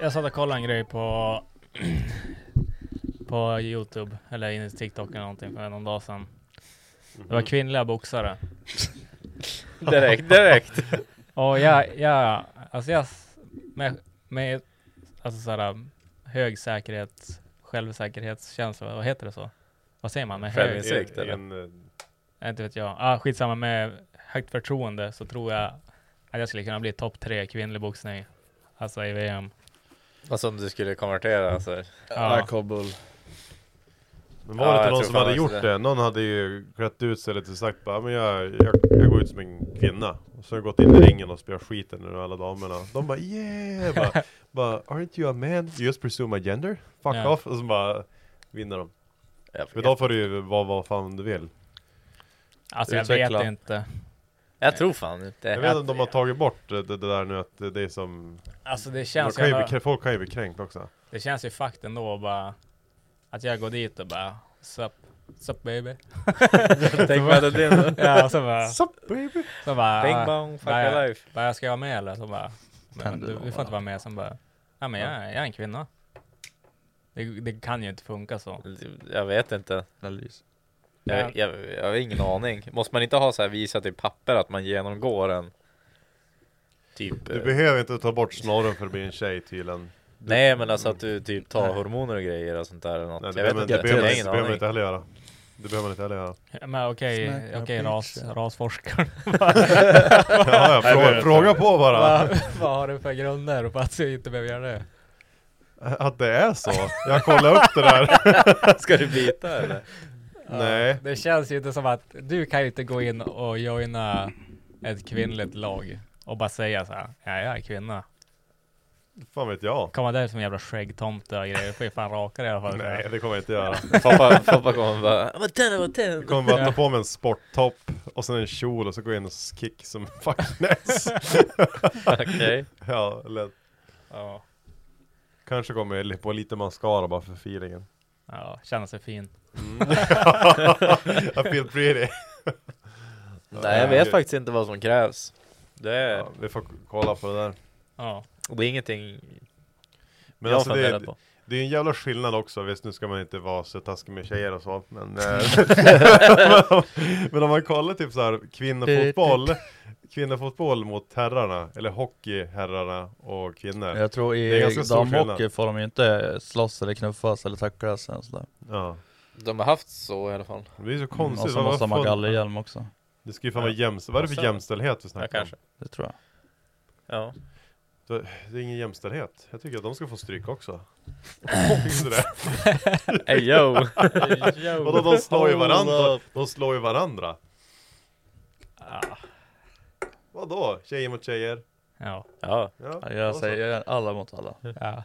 Jag satt och kollade en grej på på Youtube eller in i TikTok eller någonting för någon dag sedan. Det var kvinnliga boxare. Direkt, direkt. Och jag, jag, alltså jag, s- med, med alltså såhär hög säkerhet, självsäkerhetskänsla, vad heter det så? Vad säger man? Med hög, Självinsikt. Direkt, eller? En, eh, Nej, inte vet jag. Ah, skitsamma, med högt förtroende så tror jag att jag skulle kunna bli topp tre kvinnlig boxning. Alltså i VM. Alltså om du skulle Mm. konvertera alltså. Ja. Kobbel. Men Ja, var det jag inte någon tror som fan hade det. gjort det? Någon hade ju klätt ut sig lite och sagt bara, "Ja, men jag, jag, jag går ut som en kvinna Och så har jag gått in i ringen och spöat skiten ur alla damerna De bara yeah! Bara, bara, Aren't you a man? You just pursue my gender? Fuck Ja. off! Och så bara vinner de Jag, För då får du ju vara vad fan du vill Alltså jag Utveckla. vet inte. jag tror fan inte. Jag vet inte om de har tagit bort eh, det, det där nu att det, det är som Alltså det de känns, kan ju jävla- bli, krä- Folk kan ju bli kränkt Eh. också det känns ju fakt ändå bara att jag går dit och bara Sup, sup baby. Tänk vad det är nu. Ja, och så bara, Sup baby! så bara, Bing ah, bong, fuck nej. your life. bara, ska jag vara med eller? Så bara, men, Tänder du, de du får bara. inte vara med. Sen bara, ja men jag, är- jag är en kvinna. Det, det kan ju inte funka så. Jag vet inte. Analys. Ja. Jag, jag, jag har ingen aning. Måste man inte ha så här visat i papper att man genomgår en typ? Du eh, behöver inte ta bort snorren för att bli en tjej tydligen Nej men alltså att du typ tar Nej. hormoner och grejer och sånt där eller något. Nej, det jag vet behöver, inte. det behöver, Jag har man- det ingen behöver man aning. inte heller göra Det behöver man inte heller göra Ja, Men okej, Snacka okej bitch, ras, ja. rasforskaren. Ja, ja, fråga, fråga på bara. Vad, vad har du för grunder på att jag inte behöver göra det? Att det är så. Jag kollar upp det där. Ska du byta eller? Nej. Det känns ju inte som att du kan ju inte gå in och joina ett kvinnligt lag och bara säga så här. Ja, jag är kvinna. Fan vet jag. Komma där som en jävla skäggtomte och grejer. Du får ju fan raka dig i alla fall. Nej, det kommer jag inte göra. Pappa, pappa kommer bara "Jag var tänd, jag var Jag tänd. kommer bara ta på mig en sporttopp och sen en kjol och så går jag in och kick som fucking ass. Okej. Ja, eller Ja, kanske kommer jag på lite mascara bara för feelingen. ja känna sig fin. I feel pretty. Nej jag vet faktiskt inte vad som krävs. Det är, Ja, vi får kolla på det där. Ja, det är ingenting Men jag alltså har det, funderat på. det är en jävla skillnad också, visst nu ska man inte vara så taskig med tjejer och så Men, eh, men, om, men om man kollar typ så här kvinnofotboll typ- Kvinnofotboll mot herrarna, eller hockey herrarna och kvinnor Jag tror Det är i ganska stor damhockey skillnad. får de ju inte slåss eller knuffas eller tacklas eller sådär. Ja De har haft så i alla fall. Det är så Mm, och konstigt, så vad- måste de ha vad fan- gallerhjälm också. Det ska ju fan vara jämställt, vad är det för Ja, jämställdhet vi Ja, snackar om? kanske. Det tror jag. Ja. Det är ingen jämställdhet, jag tycker att de ska få stryk också Tycker du det? Ey yo! Vadå de slår ju varandra, de slår ju varandra Ah. Vadå? Tjejer mot tjejer? ja, Ja, Ja, Ja, då Jag så. säger alla mot alla. ja.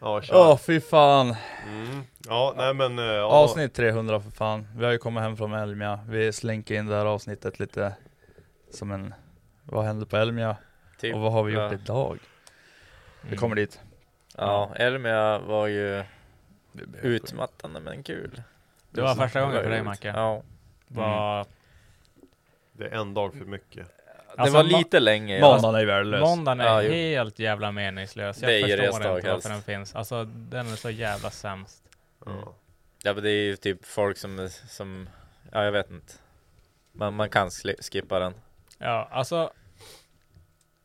Ja, kör. Åh fy fan! Mm. Ja, nej men... eh, ja. Avsnitt 300 för fan. Vi har ju kommit hem från Elmia. Vi slinker in det här avsnittet lite som en... Vad hände på Elmia? typ. Och vad har vi gjort Ja. idag? Vi Mm. kommer dit. Ja, Elmia var ju utmattande men kul. Det var första gången Det var för dig, roligt. Macke. Ja. Var Det är en dag för mycket. Det Alltså, var ma- lite längre. ja. Måndagen är värdelös. Måndagen är Ja, jo. helt jävla meningslös. Jag Det är ju förstår resdag inte varför helst. den finns. Alltså den är så jävla sämst. Ja. Ja men det är ju typ folk som, som ja jag vet inte. Man, man kan sli- skippa den. Ja, alltså.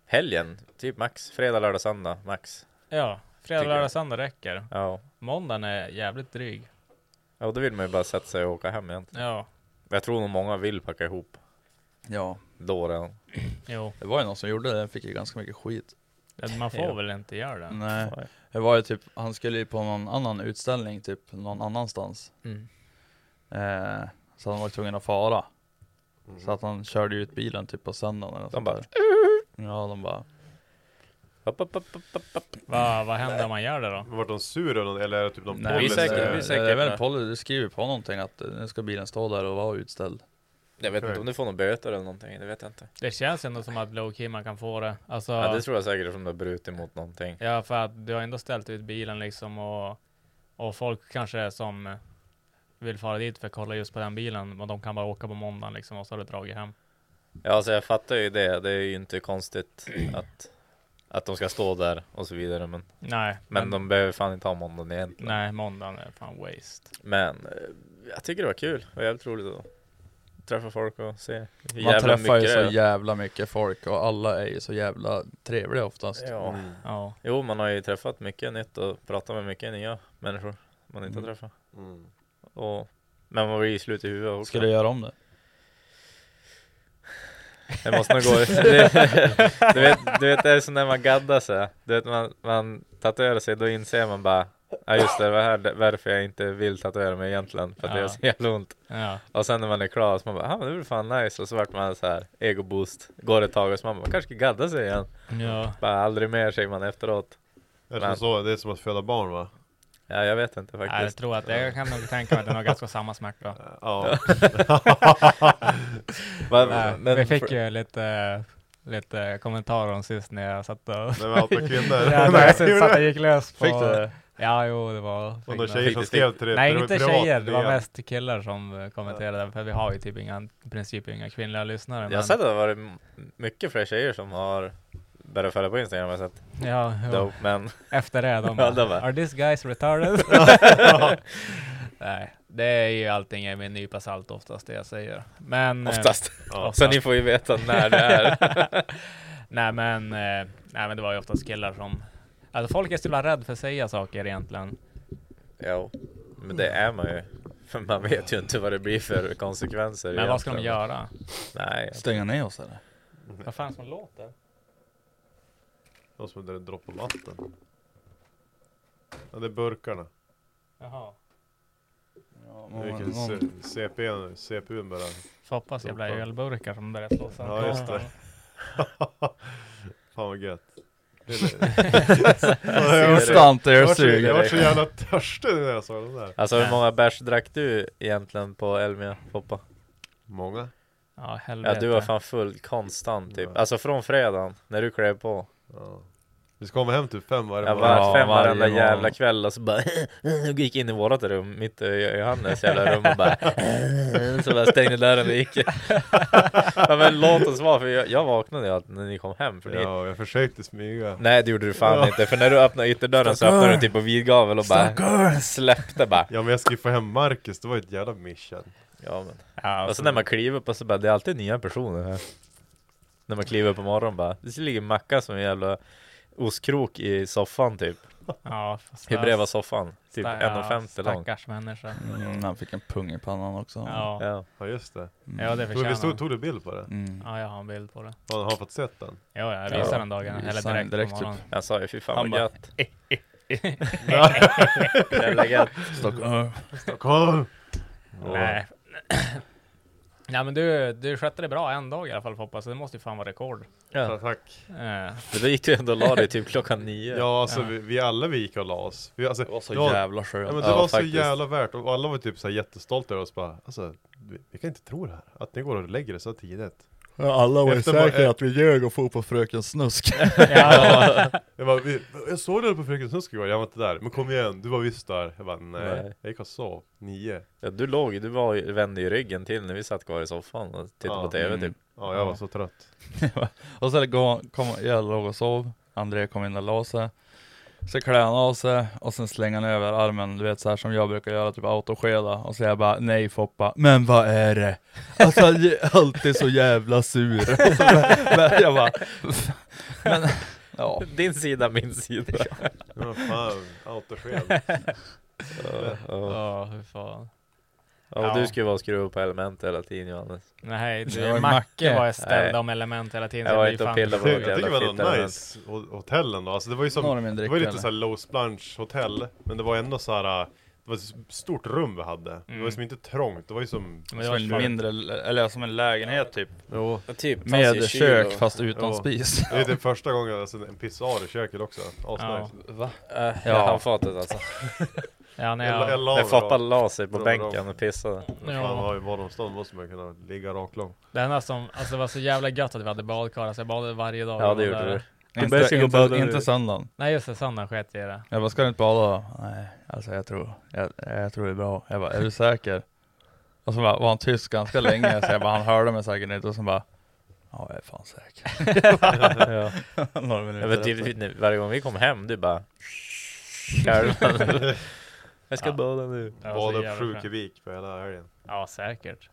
Helgen, typ max. Fredag, lördag, söndag, max. Ja, fredag, Tycker jag. lördag, söndag räcker. Ja. Måndagen är jävligt dryg. Ja, och då vill man ju bara sätta sig och åka hem egentligen. Ja, Men Jag tror nog många vill packa ihop Ja, då redan. jo. det var ju någon som gjorde det, den fick ju ganska mycket skit. Man får Ja. väl inte göra det. Nej, det var ju typ, han skulle ju på någon annan utställning typ någon annanstans. Mm. Eh, så han var tvungen att fara. Mm. Så att han körde ut bilen typ på söndagen eller något De sånt bara- där. Ja, de bara. Upp, upp, upp, upp, upp, upp. Va, vad händer om man gör det då? Vart de sur eller någon- eller är det typ någon Nej, vi policy? säkert- det- vi säkert Det är väl en med." policy, du skriver på någonting att eh, nu ska bilen stå där och vara utställd. Jag vet inte om du får några böter eller någonting, det vet jag inte. Det känns ändå som att low-key man kan få det. Alltså, Ja, det tror jag säkert som du har brutit mot någonting. Ja, för att du har ändå ställt ut bilen liksom och, och folk kanske som vill fara dit för att kolla just på den bilen, men de kan bara åka på måndagen liksom och så har du dragit hem. Ja, alltså jag fattar ju det. Det är ju inte konstigt att, att de ska stå där och så vidare. Men, Nej, men de behöver fan inte ha måndagen egentligen. Mm. nej, måndagen är fan waste. Men eh, jag tycker det var kul. Det var jävligt roligt att träffa folk och se hur Man jävla träffar ju mycket så det är. jävla mycket folk och alla är ju så jävla trevliga oftast. Ja. Mm. Ja, Jo, man har ju träffat mycket nytt och pratat med mycket nya människor man inte har Mm. träffat. Mm. Och, men man blir ju slut i huvudet också. Ska du göra om det? Det måste nog gå det, du, vet, du vet det är som när man gaddar sig Du vet man, man tatuerar sig då inser man bara Ja just det, det var här det- varför jag inte vill tatuera mig egentligen För att det Ja. gör så jävla ont ja, Och sen när man är klar så man bara ah, men det blir fan nice Och så vart man så här ego boost Går ett tag och så man bara, man kanske ska gadda sig igen ja. Bara aldrig mer säger man efteråt Jag tror Men- så, det är som att föda barn va? Ja jag vet inte Nej, jag faktiskt tror att jag kan nog tänka mig att den har ganska samma smärta. Ja. Va- Nej, men- vi fick ju lite, lite kommentarer om sist när jag satt och När vi hatar kvinnor. Ja, när jag satt satt och gick lös på... Fick du det? Ja, jo, det var... fick Och några några- tjejer som skrev till dig Nej, pri- inte privat tjejer. Det var DM. mest killar som eh, kommenterade, för vi har ju typ inga, i princip inga kvinnliga lyssnare. Jag men- har sett att det har varit m- mycket fler tjejer som har Börjat följa på Instagram har jag sett Ja, jo. Dope, men efter det de Ja, bara, det var- Are these guys retarded? Nej, det är ju allting med en nypa salt oftast det jag säger. Men... eh, oftast Ja. Så ni får ju veta när det är nej, men, eh, nej, men det var ju oftast killar som... Alltså folk är så jävla rädda för att säga saker egentligen. Ja, men det är man ju. För man vet ju inte vad det blir för konsekvenser. Men vad ska de egentligen. göra? Nej, Stänga ner oss eller? Vad fan som låter? De som hade dropp på vatten. Ja det är burkarna. Jaha. Vilken C- CP, CPUn bara. Foppas jävla Foppa. ölburkar som börjar slå sönder. Ja just det. Fan vad gött. Det är- Konstant Jag var så- jag var ölsugare. så jävla törstig när jag såg den där. alltså hur många bärs drack du egentligen på Elmia, Poppa? Många. Ja, helvete. Ja, du var fan full konstant typ. Ja. Alltså från fredagen, när du klev på. Ja. Vi ska komma hem typ fem varje Jag morgon. var Ja, fem varje varenda morgon. jävla kväll och så bara gick in i vårat rum, mitt och Johannes jävla rum och bara så bara stängde dörren och gick. ja, men låt oss vara, för jag, jag vaknade ju alltid när ni kom hem för ni Ja, jag försökte smyga. Nej det gjorde du fan Ja. inte, för när du öppnade ytterdörren så öppnade du typ på vid gavel och bara Stackars. släppte bara Ja men jag ska ju få hem Marcus, det var ju ett jävla mission. ja, men. Ja, Och så när man kliver på så bara, det är alltid nya personer här När man kliver på morgonen bara, det ligger Mackan som en jävla ostkrok i soffan typ ja, fast Hur jag- bred var soffan? Typ sta- 1,50 lång Stackars människa. Mm, han fick en pung i pannan också. Ja, ja. Ja, Ja just det. det Tog, förtjänar visst tog, han. tog du bild på det? Mm. Ja, jag har en bild på det. Har har han fått sett den? Ja, jag visade Ja, den dagen. Eller visade den direkt, direkt, typ. på morgonen. jag sa ju fy fan Han vad bara, gött Jävla gött typ. Stockholm. Stockholm! Nej. Nej men du, du skötte det bra en dag i alla fall Foppa, så det måste ju fan vara rekord. Ja, ja. tack. Eh, Men då gick du ändå och la dig typ klockan nio Ja alltså Ja. vi, vi alla vi gick och la oss. Vi, alltså, Det var så det var- jävla Ja, men skönt. det Ja, var faktiskt. så jävla värt och alla var typ så här jättestolta över oss bara alltså, vi, vi kan inte tro det här, att ni går och lägger er så tidigt. Alla var ju Efter bara- säkra att vi ljög och for på fröken Snusk. Ja. Jag, bara, vi, jag såg dig på Fröken Snusk igår, jag var inte där. Men kom igen, du var visst där. Jag bara, nej. Nej. Jag gick och sov, nio. Ja, du låg ju- du var, ju- vände ju ryggen till när vi satt kvar i soffan och tittade Ja. på TV typ. Ja, jag var så trött. Och så går- kom, jag låg och sov, André kom in och la sig. Så klär han av sig och sen slänger han över armen, du vet så här som jag brukar göra, typ autoskeda. Och så jag bara, nej Foppa, men vad är det? Alltså han är alltid så jävla sur. Och så, men jag bara, men ja. Din sida, min sida. Ja, fan, autosken. Ja, ja. Ja, hur fan. Ja, och du skulle vara skruv på element hela tiden Johannes. Nej, Det var ju det, Macke. Macke var jag ställd Nej. om element hela tiden. Jag så var blir inte och fan- pillade på Jag något tycker jävla det var skitelement. nice ho- hotell ändå. Alltså det var ju som, Några med en det dricka, var ju lite eller? såhär Low Splunch hotell. Men det var ändå så här. äh, det var ett stort rum vi hade. Det var ju som inte trångt, det var ju som... Mm. Men det Som var en mindre, eller som en lägenhet typ. Jo. Typ, Med kök fast utan Ja. spis. Det är typ första gången, alltså en pissoar i köket också. Asnice. Va? ja. Ja. handfatet alltså. Ja, när Jag, jag jag, la När mig bara. Foppa la sig på Bra, bänken bra. och pissade. Fan, ja, har ju badrumsstånd måste man ju kunna ligga raklång. det enda som, alltså det var så jävla gött att vi hade badkar, alltså jag badade varje dag. Ja Jag det var gjorde där. du. Inte, började gå och inte, bada inte nu. söndagen. Nej just det, söndagen sket jag i det. Jag bara, ska du inte bada då? Nej, alltså jag tror, jag, jag tror det är bra. Jag bara, är du säker? Och så bara, var han tyst ganska länge, så jag bara, han hörde mig säkert inte. Och så bara, ja jag är fan säker. ja. Några Ja, minuter men efter. typ, nu- varje gång vi kom hem, du bara Skärmen. Jag ska Ja. bada nu. Det var så Bada upp jävla sju skönt. kubik på hela helgen. Ja säkert.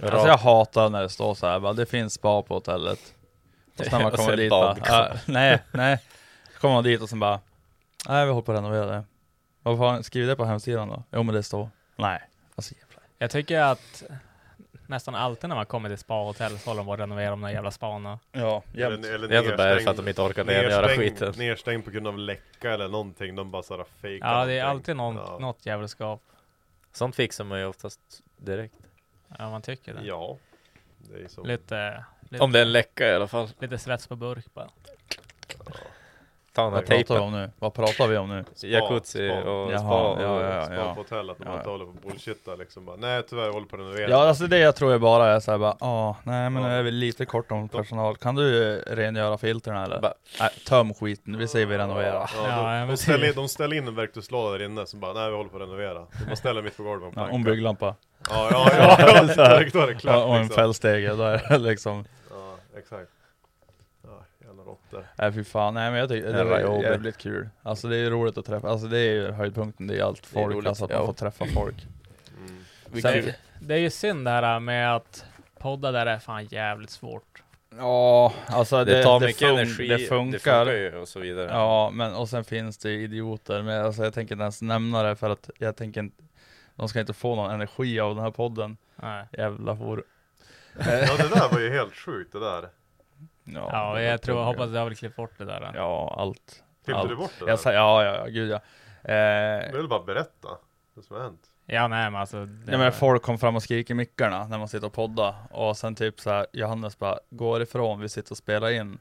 Alltså jag hatar när det står så här, bara, det finns spa på hotellet. Och sen man Och kommer sen dit bara, badkar. "Ah, nej, nej. Så kommer man dit och sen bara, nej vi håller på att renovera det. Vad fan, skriv det på hemsidan då? Jo men det står, nej. Alltså, jävlar. Jag tycker att nästan alltid när man kommer till spahotell så håller de på att renovera de där jävla spana. ja, jämt. Eller, eller Det är inte bara för att nerstängd- de inte orkar rengöra skiten. nerstängd på grund av läcka eller någonting, de bara såhär fejkar Ja det är någonting. alltid någon, Ja. något jävelskap. Sånt fixar man ju oftast direkt. Ja man tycker det. Ja, det är så. Lite, lite, Om det är en läcka i alla fall. lite svets på burk bara. Ta den här Vad pratar vi tejpen. om nu? Vad pratar vi om nu? Spa, Jacuzzi spa. och Jaha, spa. ja, ja. spa på hotell, att de Ja, inte ja. håller på och bullshitta liksom bara, Nej tyvärr, jag håller på att renovera. Ja alltså det jag tror jag bara är såhär bara, ah, nej men Ja. nu är vi lite kort om personal, kan du eh, rengöra filtren eller? Bara- nej, töm skiten, vi säger vi renoverar. Ja, Ja, de, men de, det- ställer in, de ställer in en verktygslåda där inne som bara, nej vi håller på att renovera. De bara ställer mitt på golvet och Ja, en om planka. bygglampa Ja, ja, ja, ja, Så här. direkt då är det ja, och klart en liksom. fällstege, då är det liksom, Ja, exakt. Ja, jävla råttor. nej fy fan, nej men jag tycker det Jävla är jobbigt. jävligt kul. Alltså det är ju roligt att träffa, alltså det är ju höjdpunkten, det är allt Det är folk, roligt, alltså att man ja. får träffa folk. Mm. Sen, det är ju synd det här med att podda där är fan jävligt svårt. Ja, alltså det, Det tar mycket fun- energi. det funkar. ju och så vidare. Ja, men och sen finns det idioter, men alltså jag tänker inte ens nämna det för att jag tänker inte, de ska inte få någon energi av den här podden. Nej. Jävla hor. Ja det där var ju helt sjukt det där. Ja, jag tror, jag hoppas jag har väl klippt bort det där. då. Ja, allt. Klippte allt. du bort det Jag där? sa, ja, ja, ja, gud ja. Du Eh, vill bara berätta vad som har hänt. Ja nej men alltså. det nej, var- men folk kom fram och skrek i mickarna när man sitter och poddar och sen typ så här, Johannes bara går ifrån, vi sitter och spelar in.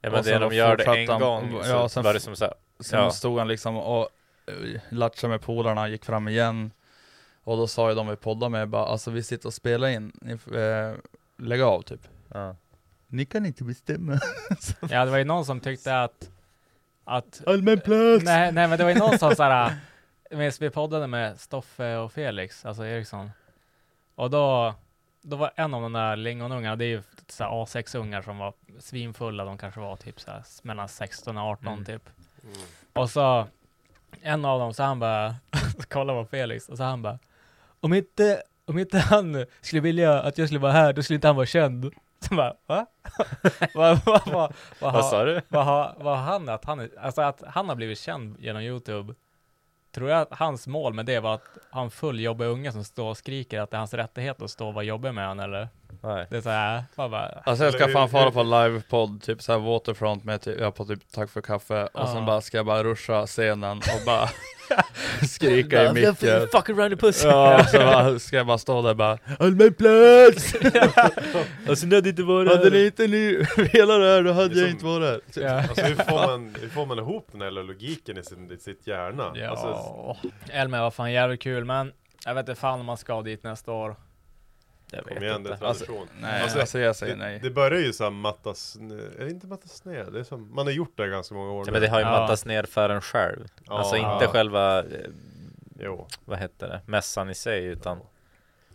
Ja, men Och det sen de då gör det fortsatte en han- gång så ja, sen var f- det som såhär. Sen Ja. stod han liksom och eh, latchade med polarna, gick fram igen. Och då sa ju de vi poddar med bara, alltså vi sitter och spelar in, ni, f- eh, lägg av typ. Ja. Ni kan inte bestämma. Ja det var ju någon som tyckte att, att Allmän plats! Nej, nej men det var ju någon som såhär, medan äh, vi poddade med Stoffe och Felix, alltså Eriksson. Och då, då var en av de där lingonungarna, det är ju såhär A6-ungar som var svinfulla, de kanske var typ såhär mellan 16 och 18 Mm. typ. Och så, en av dem, så han bara, kolla på Felix, och så han bara, om inte, om inte han skulle vilja att jag skulle vara här, då skulle inte han vara känd. Så bara, va? vad, vad, vad, vad, Vad har- sa du? vad har, vad har han, att han, är- alltså att han har blivit känd genom Youtube, tror jag att hans mål med det var att ha en full jobbig unge som står och skriker att det är hans rättighet att stå och vara jobbig med han eller? Nej. Det är såhär, man bara, Alltså jag ska Eller fan hur- fara hur- på livepodd, typ såhär Waterfront med typ, jag på typ Tack för kaffe och sen Ja. bara ska jag bara ruscha scenen och bara skrika i Alltså, micken. Fuck around the pussy. Ja, och så bara, ska jag bara stå där bara Allmän plats! Alltså ni hade inte varit Hade ni inte ni velat det här då hade Det är jag som- inte varit här. typ. ja. Alltså hur får man, hur får man ihop den här jävla logiken i sin, i sitt hjärna? Ja. Alltså, Elmer var fan jävligt kul men jag vet inte fan om man ska dit nästa år. Jag Kom vet igen, det är inte. tradition. Nej, Alltså, alltså, jag säger det, nej. det börjar ju såhär mattas, snö- är det inte mattas snö? Det är som, man har gjort det ganska många år ja, men det har ju Ja. mattats ner för en själv. Ja, alltså inte ja. själva, eh, Jo. vad heter det, mässan i sig utan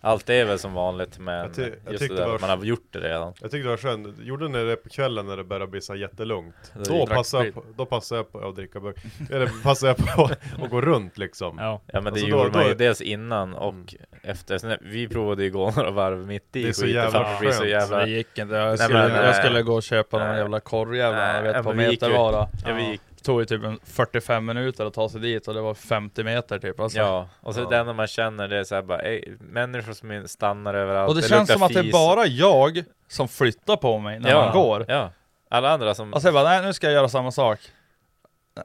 allt är väl som vanligt men Jag ty- jag just det tyckte där det var- att man har gjort det redan. Jag tyckte det var skönt, gjorde ni det på kvällen när det började bli så här jättelugnt? Det Då drack passade, jag på, då passade jag på att dricka burk, eller passade jag på att gå runt liksom Ja. Ja men det Alltså, då- gjorde man ju då- dels innan och Mm. efter. Sen, vi provade ju gå några varv mitt i Det är så skiten jävla för att det blir så skönt. jävla... det gick inte. Jag Nej, skulle, men, jag eh, skulle gå och köpa någon nej. jävla korvjävla, jag Nej, vet på men vi gick ju- metervara. Ja, vi gick, Det tog ju typ en 45 minuter att ta sig dit och det var 50 meter typ alltså. ja, och så Ja. det enda man känner det är såhär bara, ej, människor som stannar överallt. Och det, känns luktar som att det är fis. bara jag som flyttar på mig när ja, man går. Ja, alla andra som... Alltså jag bara, nej nu ska jag göra samma sak.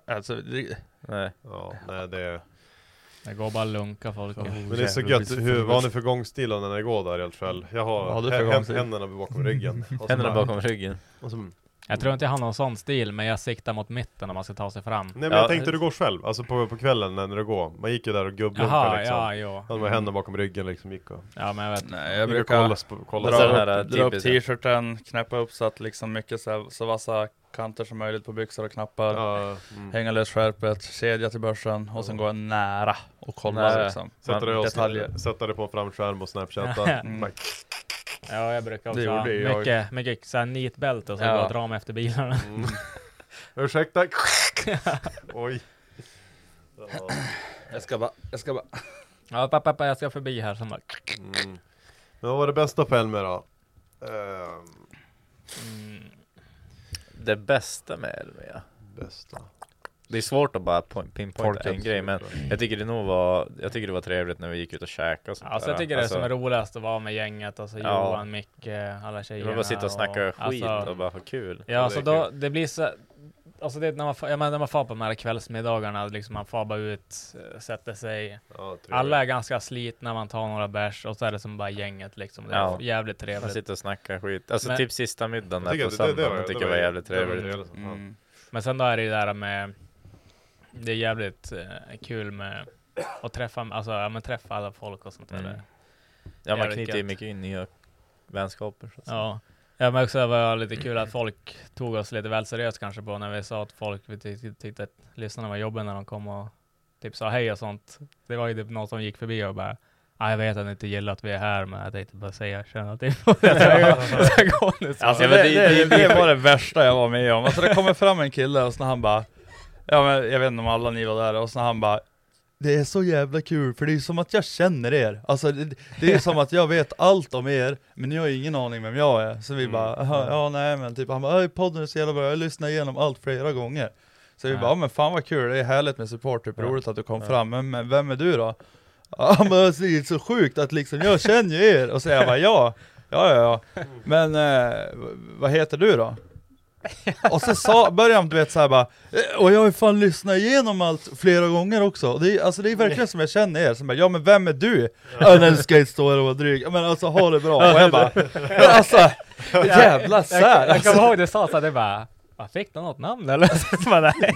Alltså, det, nej. Ja, nej det är... Det går bara att lunka folk. Men det är så gött, hur, vad har ni för gångstil när ni går där i alla fall? Jag har Vad har du för hä- gångstil? händerna bakom ryggen Och så Händerna bara- bakom ryggen. och så, Nej Jag tror inte jag har någon sån stil, men jag siktar mot mitten när man ska ta sig fram. men Ja. jag tänkte du går själv, alltså på, på kvällen när du går Man gick ju där och gubblunkade Jaha, liksom ja, jo. Hade man händerna bakom ryggen liksom, gick och... Ja, men jag vet. nej jag gick och brukar kolla, sp- kolla Alltså, den dra, här upp, dra upp typiska. t-shirten, knäppa upp så att liksom mycket så, här, så vassa kanter som möjligt på byxor och knappar. Ja, mm. Hänga lös skärpet, kedja till börsen och sen går jag nära och kollar Nära. liksom. Sätta dig, och, detaljer. sätta dig på en framskärm och snapchatta Mm. Bara- Ja, jag brukar också Det ha gjorde ju jag. mycket, mycket såhär nitbälte och så Ja. går och drar mig efter bilarna. Mm. Ursäkta. Oj. Ja. Jag ska bara, jag ska bara. Ja, pappa, pappa, jag ska förbi här. Som bara, Mm. Men vad var det bästa på Elmer då? Ehm, mm, Det bästa med Elmia. bästa. Det är svårt att bara po- pinpointa Torkat. en grej men jag tycker det nog var, jag tycker det var trevligt när vi gick ut och käkade och sånt alltså, där. jag tycker Alltså, det som är roligast att vara med gänget, alltså Ja. Johan, Micke, alla det tjejerna. var bara sitta och snacka skit alltså, och bara ha kul. Ja, alltså det är då, det blir så... Alltså det är när man, fa- jag menar, när man far på de här kvällsmiddagarna, liksom man far bara ut, eh, sätter sig. Ja, Alla är ganska slitna, man tar några bärs och så är det som bara gänget liksom. Det är Ja. jävligt Man trevligt. sitter och snackar skit. Alltså Men- typ sista middagen där tycker på att det- det- det söndagen, var- det, det tycker var jag var ju- jävligt det var trevligt. trevligt som fan. Mm. Men sen då är det ju det där med, det är jävligt eh, kul med att träffa, alltså, ja, men träffa alla folk och sånt där. Mm. Ja, man Jävligt knyter ju gött. mycket in nya vänskaper. Så att säga. Ja. Jag märkte också att det var lite kul att folk tog oss lite väl seriöst kanske på när vi sa att folk vi tyckte, tyckte att lyssnarna var jobbiga när de kom och typ sa hej och sånt. Det var ju typ någon som gick förbi och bara "Ah, jag vet att ni inte gillar att vi är här, men jag tänkte bara säga känna till Alltså, Ja, men det, det, det- det, det- var det värsta jag var med om. Alltså det kommer fram en kille och så när han bara, ja men jag vet inte om alla ni var där, och så när han bara det är så jävla kul, för det är som att jag känner er. Alltså det, det är som att jag vet allt om er, men ni har ju ingen aning vem jag är. Så vi Mm. bara, "Aha, ja nej men typ, han bara, "Aj, podden är så jävla bra, jag lyssnar igenom allt flera gånger. Så vi Ja. bara, ja men fan vad kul, det är härligt med support, typ, Ja. roligt att du kom Ja. fram, men, men vem är du då? Ja men alltså, det är så sjukt att liksom, jag känner ju er! Och så jag bara, ja, ja ja ja. Men eh, v- vad heter du då? Och så sa, började han du vet såhär bara eh, Och jag har ju fan lyssnat igenom allt flera gånger också Och det är, Alltså det är verkligen som jag känner er, som bara Ja men vem är du? Ja den ska inte stå här och vara dryg Ja, Men alltså ha det bra, och jag bara "Men Alltså jävla sär! Jag Alltså, kommer ihåg det sa så att det bara "Va, Fick de något namn eller? Så bara, "Nej."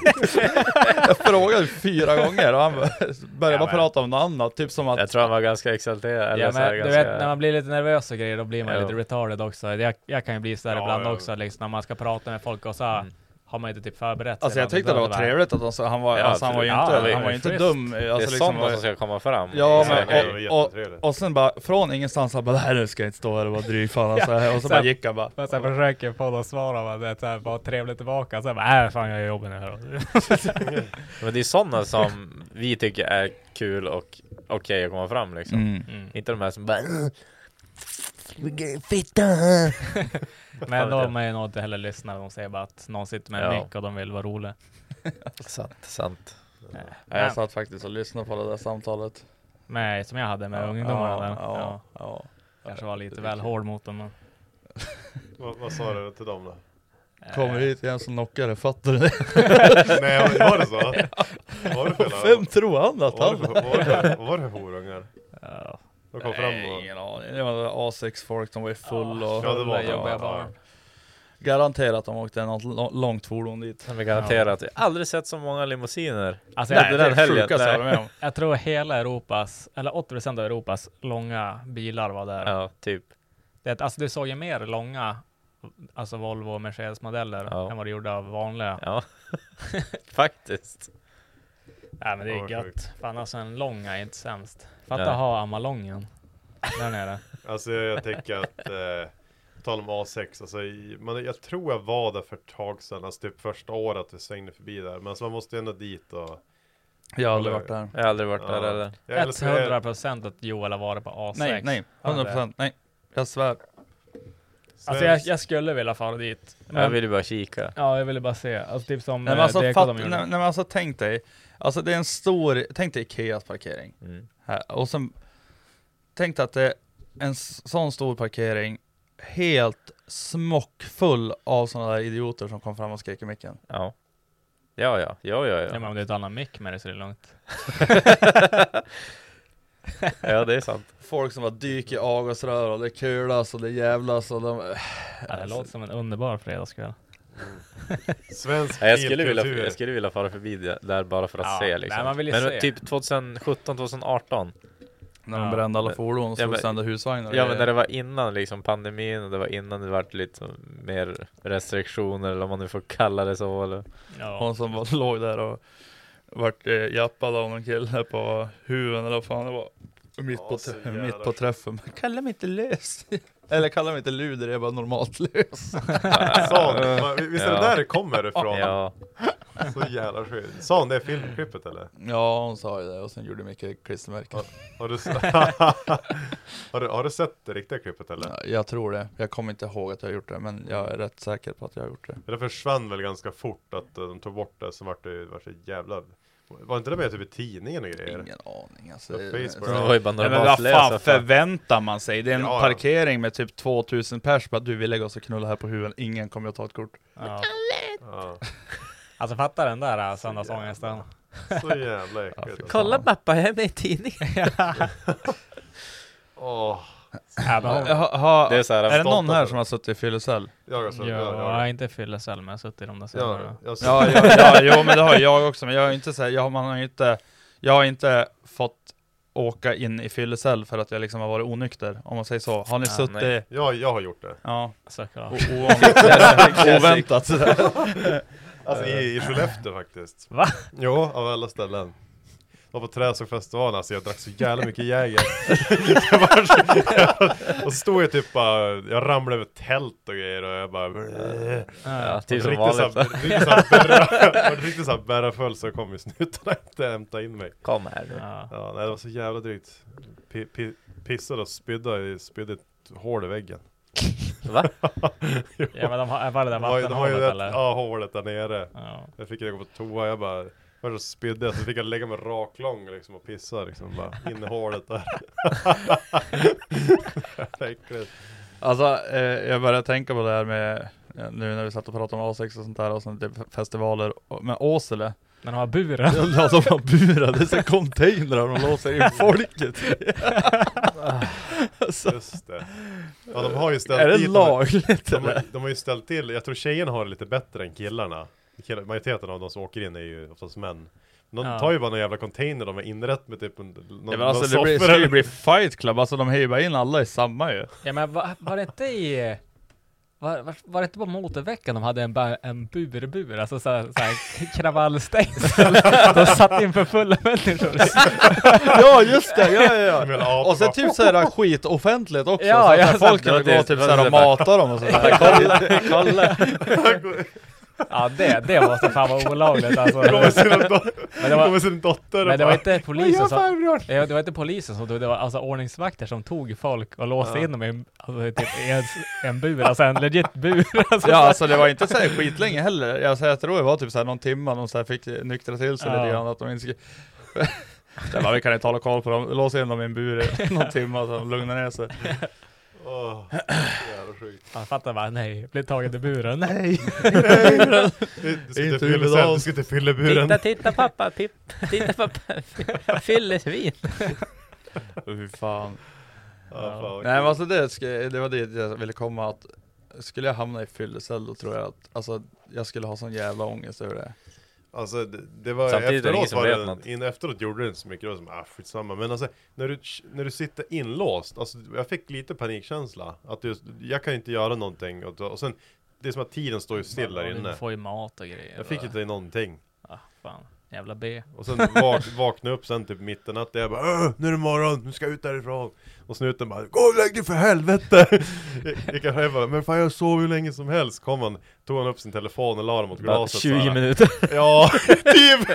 jag frågade fyra gånger och han bara- började Ja, bara men- prata om något annat, typ som att Jag tror han var ganska exalterad. Eller ja, så här, men, du ganska... vet när man blir lite nervös och grejer då blir man ju Jo. lite retarded också. Jag, jag kan ju bli sådär Ja, ibland ja. också liksom, när man ska prata med folk och så Mm. har man ju inte typ förberett sig. Alltså jag Man- tyckte det var bara- trevligt att de sa, han var, Ja, alltså, han var ju absolut. Ja, inte, det han var är ju inte schysst. dum alltså, det är liksom, sånt var- som ska komma fram. Ja, Så men- här, det var hej. och- jättetrevligt. Och sen bara, från ingenstans, han bara det här nu ska jag inte stå här och vara dryg fan alltså. Och sen- så bara gick han bara Jag så här försöker få dem att svara man, det är så här, bara trevligt tillbaka, så här bara äh, fan jag är jobben här. Men det är sådana som vi tycker är kul och okej att komma fram liksom. mm. Mm. Inte de här som bara Men de är ju nog inte heller lyssnare, de säger bara att någon sitter med en Ja. mick och de vill vara roliga. Sant, sant. Nej, Jag satt faktiskt och lyssnade på det där samtalet Nej, som jag hade med ungdomarna ja, där. ja, Ja. ja. Kanske var lite det väl tycker hård mot dem. men, Vad, vad sa du till dem då? eh, Kommer hit igen så knockar det, fattar du det? Nej, var det så? Var det för Vem tror han att Var det han för, var det, var det för horungar? ja. De kom fram Nej, och... Ah, ingen aning, det var A6 folk, de var ju full Ja, och det var jobbiga ja, barn. Garanterat de åkte något lo- långt fordon dit. Som är garanterat. Jag har aldrig sett så många limousiner. Alltså, Nej, jag, det där- den helgen, sjukaste nej. jag varit med om. jag tror hela Europas, eller 80% av Europas långa bilar var där. Ja, typ. Det, alltså du såg ju mer långa, alltså Volvo och Mercedes-modeller Ja. än vad du gjorde av vanliga. Ja. Faktiskt. Nej men det Ja, är vad gött. Fan alltså en lång är inte sämst. Fatta Nej. att ha Amalongen där nere. Alltså jag tänker att, eh, på tal om A6, alltså, i- man, jag tror jag var där för ett tag sedan, alltså typ första året vi svängde förbi där. Men alltså man måste ju ändå dit och... Jag har aldrig varit där. Jag har aldrig varit där Ja. eller. Jag älskar- 100% att Joel har varit på A6. Nej, nej. Ja, det- 100% nej. Jag svär. Alltså jag, jag skulle vilja fara dit. Men, Jag ville bara kika. Ja, jag ville bara se. Alltså typ som Nej, men eh, alltså, Deco fatt, de nej, gjorde. nej, men alltså tänk dig, alltså det är en stor, tänk dig Ikeas parkering. Mm. Här. Och sen, tänk dig att det är en s- sån stor parkering, helt smockfull av sådana där idioter som kom fram och skrek i micken. Ja. Ja, ja, ja, ja, Ja, men ja. om det är ett annat mick med det så är det lugnt. ja det är sant. Folk som bara dyker i avgasrör och det kulas och det jävlas och de... Ja, det Alltså- låter som en underbar fredagskväll. Svensk Nej, jag, skulle vilja, bilkultur. jag skulle vilja fara förbi det där bara för att Ja, se liksom. nej, man vill ju men se. typ 2017, 2018. När de Ja. brände alla fordon och Ja, slog men- sönder husvagnar. Ja men när det var innan liksom pandemin och det var innan det vart lite mer restriktioner eller om man nu får kalla det så eller Ja. Hon som var, låg där och vart eh, jappad av någon kille på huven eller vad fan det var. Mitt, Ja, på, så tr- jävla mitt på träffen. Kalla mig inte lös. eller kalla mig inte luder, jag är bara normalt lös. Sån, va- visst är det Ja. där det kommer ifrån? Ja, Så jävla sjukt. Sa hon det i filmklippet eller? ja hon sa ju det och sen gjorde mycket klistermärken. Har du, s- har du, har du sett det riktiga klippet eller? Ja, jag tror det. Jag kommer inte ihåg att jag har gjort det men jag är rätt säker på att jag har gjort det. Det där försvann väl ganska fort att eh, de tog bort det, så vart det, vart det jävla... Var inte det med typ i tidningen och grejer? Ingen aning alltså. Ja, Det- Facebook. det var ju bara Nej, men vad normalt fan läsa för... förväntar man sig? Det är en Ja, ja. parkering med typ 2000 pers, bara du vi lägger oss och knullar här på huven, ingen kommer att ta ett kort. Ja. Ja, Alltså fatta den där äh, söndagsångesten. så jävla äckligt. alltså. Kolla pappa, jag är med i tidningen! Åh, Ja, men hon- Ha, ha, Det är så här, är det stolt någon här över. som har suttit i fyllecell? jag har sett det. jag Ja, har- inte fyllecell, men jag har suttit i de där Ja, cellerna. jag har sett Ja, ja, ja, jo men det har jag också, men jag är inte så här, jag, har- man har ju inte, jag har inte fått åka in i fyllecell för att jag liksom har varit onykter, om man säger så. Har ni Ja, suttit, nej. Ja, jag har gjort det. ja, Såklart. o- o- oväntat sådär. Alltså i, i Skellefteå faktiskt. Va? Jo, av alla ställen. Jag var på Träsågfestivalen, alltså jag drack så jävla mycket Jäger. Jag bara- jag- och så stod jag typ bara, jag ramlade över tält och grejer och jag bara... Ja, typ som Riktigt vanligt. såhär, riktigt såhär berra- riktigt såhär berra full så kom ju snutarna inte hämta in mig. Kom här nu. Ja. Ja, nej det var så jävla drygt. Pi- pi- Pissade och spydde, i- spydde ett hål i väggen. Va? Jo. ja, men de har, var det där De har ju- de har ju vattenhålet det- eller? Ja, hålet där nere. Ja. Jag fick jag gå på toa, jag bara Först så spydde jag, så fick jag lägga mig raklång liksom och pissa liksom bara in i hålet där Äckligt. Alltså, eh, jag börjar tänka på det här med, eh, nu när vi satt och pratade om A6 och sånt där och sånt, typ festivaler, och- men Åsele, Men de har buren. alltså de burar, det är så containrar de låser in folket i. Just det Ja de har ju ställt Är det dit lagligt de, de, eller? har, de har ju ställt till, jag tror tjejerna har det lite bättre än killarna Killar, Majoriteten av de som åker in är ju oftast män De Ja. tar ju bara någon jävla container de har inrett med typ en, någon, Ja, någon men alltså det blir, soffa ska ju eller- bli fight club, alltså de hejar ju bara in alla i samma ju. Ja men var, var det inte i... Var, var, var det inte på motorveckan de hade en, ba, en burbur, alltså såhär, såhär kravallstängsel? de satt in för fulla människor. Ja just det, ja ja Med en ja. apa Och sen bara- typ såhär skitoffentligt också, Ja, så att ja, när folk sen- kan gå det- typ såhär det- och mata dem och sådär. Kolla, kolla! Ja det, det måste fan vara olagligt alltså. Kommer med sin dot- Men det var, kommer med sin dotter och men det var bara, inte polisen "Vad gör som... farbror?" Ja, det var inte polisen som tog, det var alltså ordningsvakter som tog folk och låste in dem i en, alltså, typ, i en, en bur, alltså en legit bur. Alltså, Ja alltså det var inte såhär skitlänge heller, alltså, jag tror det var typ såhär någon timme de såhär fick nyktra till sig Ja. lite grann att de inte skulle... Jag bara, vi kan inte hålla koll på dem, lås in dem i en bur i någon timme så de lugnar ner sig. Åh, jävla sjukt Man fattar bara nej, bli tagen i buren, nej! Du ska Inte inte huvudet fylla- av. du ska inte fylla buren titta pappa, pip, titta pappa, fyllesvin! Fy fan. Ja, fan, vad Nej men kul. alltså det, ska, det var dit jag ville komma att skulle jag hamna i fyllecell då tror jag att, alltså jag skulle ha sån jävla ångest över det. Alltså det, det var Samtidigt är det ingen efteråt, som var vet det, något. in, efteråt gjorde det inte så mycket, det var som ah, skitsamma. Men alltså när du, när du sitter inlåst, alltså jag fick lite panikkänsla. Att just, jag kan inte göra någonting och, och sen, det är som att tiden står ju still där Du inne. får ju mat och grejer. Jag fick typ- och- inte någonting. Ah, fan. Jävla B. Och sen vak, vaknade jag upp sen typ mitt i natten, jag bara "Åh, nu är det morgon, nu ska jag ut därifrån! Och snuten bara 'Gå och lägg dig för helvete!' Jag- Jag kan jag bara 'Men fan jag sov hur länge som helst' Kom han, tog han upp sin telefon och la den mot Bara glaset 20 såhär. minuter. Ja, typ!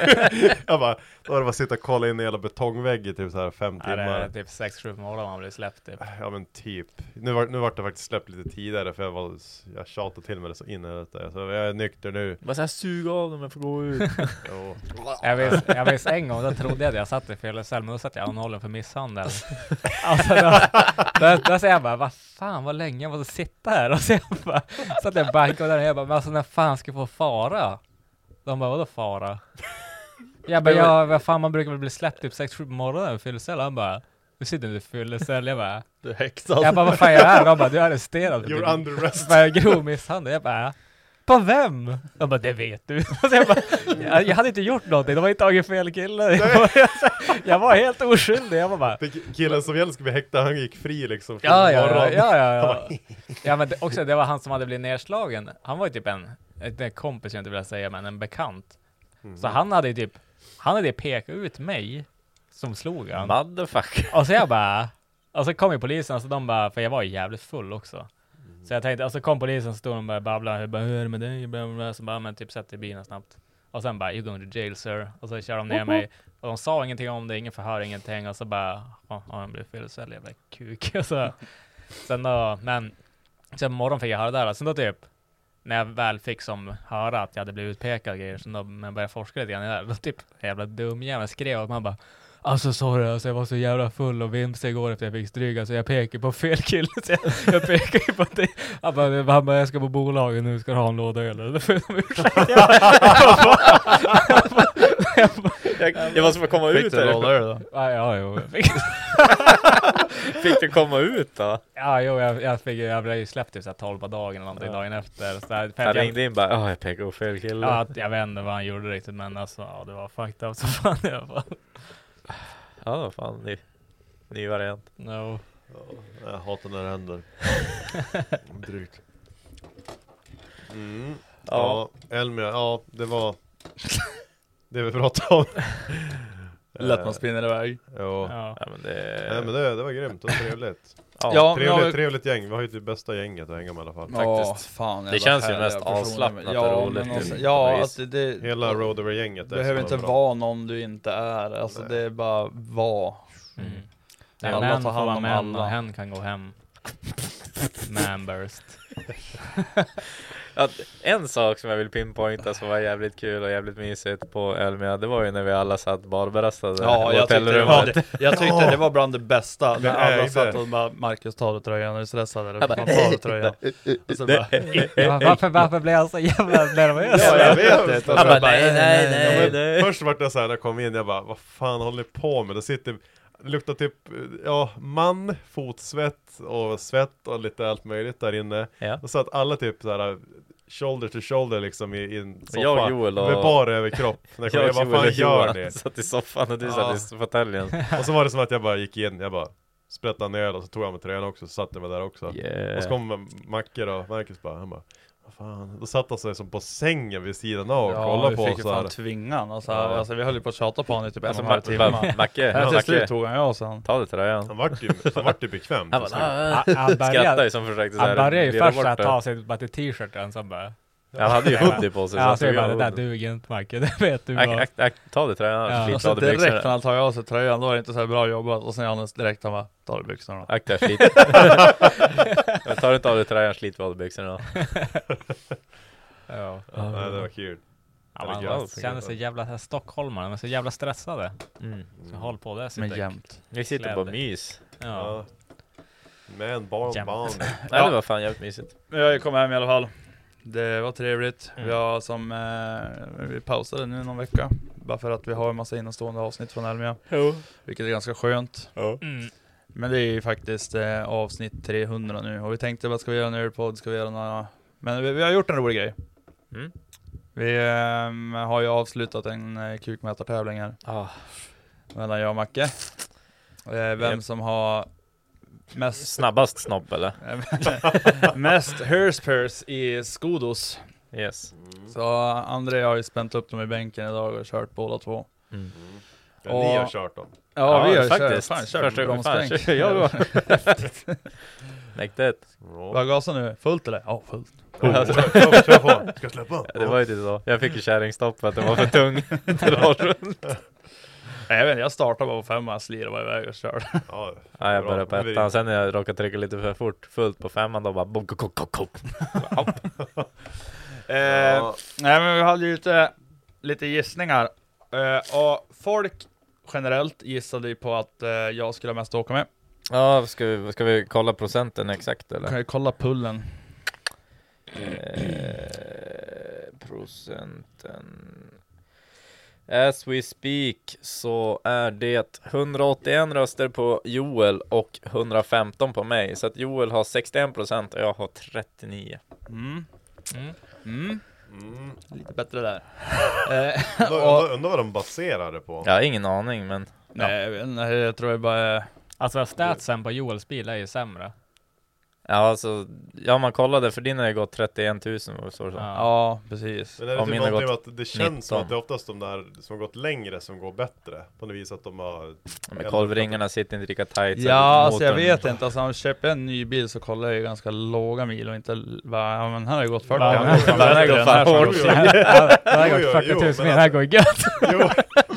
Jag bara, då var det bara att sitta och kolla in i hela betongväggen typ såhär fem Nej, det är timmar typ 6-7 på morgonen man blir släppt typ. Ja men typ, nu vart nu var det faktiskt släppt lite tidigare för jag var, jag tjatade till mig det så in i detta Så jag är nykter nu Bara såhär sug av dem, jag får gå ut. Jo. Jag minns, jag minns en gång, då trodde jag att jag satt i fel cell, men då satt jag anhållen för misshandel. Alltså då, då, då sa jag bara, vad fan vad länge jag måste sitta här. Och sen bara, satt jag och bankade där och jag bara, men alltså när fan ska jag få fara? De bara, vadå fara? Jag bara, ja vad fan man brukar väl bli släppt typ 6-7 på morgonen i fyllecell? Han bara, du sitter inte i fyllecell. Jag bara, Du är häxad. jag bara, vad fan gör jag här? De bara, du är arresterad. för You're typ under arrest! för grov misshandel. Jag bara, på vem? De bara, det vet du. Och så jag, bara, jag, jag hade inte gjort någonting, de har ju tagit fel kille. Jag var, jag var helt oskyldig. Jag var bara, Den Killen som egentligen skulle bli häktad, han gick fri liksom från ja, ja, ja, morgonen. ja, ja, ja. ja men det, också, det var han som hade blivit nedslagen. Han var ju typ en, en kompis jag inte vill säga, men en bekant. Så Mm. han hade ju typ, han hade pekat ut mig som slog han. Motherfucker. Och så jag bara, och så kom ju polisen, så de bara, för jag var ju jävligt full också. Så jag tänkte, och så kom polisen, så stod de och började babbla, jag bara, hur är det med dig? Bla, bla, bla. Så bara, men typ sätt dig i bilen snabbt. Och sen bara, you're going to jail sir. Och så kör de ner mig. Och de sa ingenting om det, ingen förhör, ingenting. Och så bara, ja, ja, han blev fel, så jag jävla kuk. Och så, sen då, men, sen på morgonen fick jag höra det där. Sen då typ, när jag väl fick som höra att jag hade blivit utpekad och grejer, så då, men jag började forska lite grann i det där. Då typ, jävla dumjävel skrev att man bara, Alltså sorry, alltså jag var så jävla full och vimsig igår efter jag fick stryk, alltså jag pekade på fel kille. Så jag, jag pekade ju på dig. Han bara, han bara, jag ska på bolaget nu, ska du ha en låda öl? Då får jag om ursäkt. Jag bara- Jag, jag måste få komma Fick ut du en här. rollare då? Ja, ja, jo, jag fick, Fick du komma ut då? ja, jo, jag, jag, fick, jag blev ju släppt typ såhär 12 på dagen eller någonting dagen efter. Så där, för Han att jag, ringde in bara, ja jag pekade upp fel kille. ja, att jag vet inte vad han gjorde riktigt, men alltså ja, det var fucked up som fan i alla fall. Ja, fan ny, ny variant. No. Ja, Jag hatar när det händer. Drygt. Mm. Ja. Ja. Elmia, ja det var det vi pratade om. Lätt man spinner iväg. Ja. Ja. Ja men det... Nej men det, det var grymt, det var trevligt. Ja, nu har trevligt, vi- trevligt gäng, vi har ju det bästa gänget att hänga med i alla fall. Ja, Faktiskt. fan, Det jävla känns ju härliga mest personer. avslappnat ja, och roligt men alltså- ju, på Ja, något att det, det Hela Roadover-gänget är behöver så inte bra. vara någon du inte är. Alltså Nej. det är bara vara. Mm. Ja, Ja, alla män får tar hand vara om män och alla. hen kan gå hem. Manburst. Att en sak som jag vill pinpointa som var jävligt kul och jävligt mysigt på Elmia, det var ju när vi alla satt barberastade Ja, i jag tyckte, det var, hotellrummet. det, jag tyckte det var bland det bästa. Det När är alla det. satt och bara Marcus tar du tröjan, är du stressad eller? Fan tar du tröjan? Och så bara, Varför, varför blev jag så jävla nervös? ja, jag vet det. Och så Han bara, bara, nej, nej, nej, nej. Först vart jag såhär när jag kom in, jag bara vad fan håller ni på med? Det sitter, luktar typ, ja man, fotsvett och svett och lite allt möjligt där inne. Ja. Och så att alla typ såhär shoulder to shoulder liksom i, i en soffa. Jag, Joel och- Med bara överkropp. När jag kom in, jag bara, vad fan gör ni? satt i soffan och du Ja. satt i fåtöljen. Och så var det som att jag bara gick in, jag bara sprättade en öl och så tog jag med tröjan också, så satte jag mig där också. Yeah. Och så kom Macke då, Marcus bara, han bara, vad fan. Då satt han sig som på sängen vid sidan av och Ja, kollade vi på fick ju oss här. fan tvinga honom. Alltså, Ja. alltså, vi höll ju på att tjata på honom i typ en och Alltså en halv Martin timme. bara, Macke, Men till slut Macke, tog han ju av sig han. ta det tröjan. Han vart ju, han vart ju bekväm. Han till bara, slut. "Ah." Han- han började- skrattade ju som försökte Han började ju lira först bort att det. ta sig bara till t-shirten, sen bara... Han hade ju Ja. hoodie på sig. Ja, han så jag tog bara, det av där hoodien. duger inte Macke, det vet du Ack, vad. ack, ack, Ta det tröjan, Ja. skit, Och så Alltså, ta det byxorna. Alltså, direkt när han tar av sig tröjan, då är det inte så här bra jobbat. Och sen Johannes direkt han bara, tar du byxorna? Akta skit. jag tar inte av dig tröjan, slit vadbyxorna. Ja. "Ah." Nej, det var kul. Ja, det är man gött. känner sig jävla så här stockholmare, men så jävla stressade. Mm. Så håll på det. Men sitter- jämt. Vi sitter på Kläder. mys. Ja. Ja. Men barn, Jämt. barn. Nej Ja. det var fan jävligt mysigt. Men jag kom hem i alla fall. Det var trevligt. Mm. Vi har som, eh, vi pausade nu någon vecka. Bara för att vi har en massa innestående avsnitt från Elmia. Jo. Vilket är ganska skönt. Mm. Men det är ju faktiskt eh, avsnitt 300 nu och vi tänkte vad ska vi göra en ölpodd, ska vi göra några... Men vi, vi har gjort en rolig grej. Mm. Vi ehm, har ju avslutat en eh, kukmätartävling här Ah, mellan jag och Macke. Eh, vem Japp. som har mest, snabbast snopp eller? mest hurspurs i Skodos. Yes. Så André har ju spänt upp dem i bänken idag och kört båda två. Mm. Ja, Ni har Och- kört dem. Ja, vi har faktiskt. kört, fan, kört Första gången fan, bromsbänk. kör jag då. Mäktigt. Ja. Vad gasar nu? Fullt eller? Ja, fullt. Ja, kör, kör på, ska jag släppa? Det var ju inte så. Jag fick ju kärringstopp för att den var för tung. Dra runt. Nej, jag vet inte, jag startade bara på femman, slirade bara iväg och körde. Ja, Ja, jag bra. började på Men vi- ettan, sen när jag råkade trycka lite för fort, fullt på femman då bara bom, kok, kok, kok, kok. Eh, nej, men vi hade ju lite, lite gissningar. Eh, och folk generellt gissade ju på att eh, jag skulle ha mest att åka med. Ja, ska vi, ska vi kolla procenten exakt eller? Kan ju kolla pullen. Eh, procenten. As we speak så är det 181 röster på Joel och 115 på mig. Så att Joel har 61% och jag har 39. Mm. Mm. Mm. Mm. Lite bättre där. eh, Undrar- Undrar undrar vad de baserade på. Jag har ingen aning men nej, jag vet inte, jag tror jag bara... Alltså statsen på Joels bil är ju sämre. ja, alltså, ja man kollade för din har ju gått 31 000 var det så, så. Ja. Ja, precis. Men är det Ja, typ mina har någonting med att det känns som 19. att det är oftast de där som har gått längre som går bättre? På något vis att de har... Men kolvringarna sitter inte lika tight. så Ja, alltså jag motorn- vet inte. Alltså, om köper jag en ny bil så kollar jag ju ganska låga mil och inte l- bara, ja men här har ju gått 40. Bara, Den den här går går fan bättre än den fan hårt. här som går Jo, sen. Det här jo, går 40 jo, 000 men alltså- mil, det här går gött! Jo,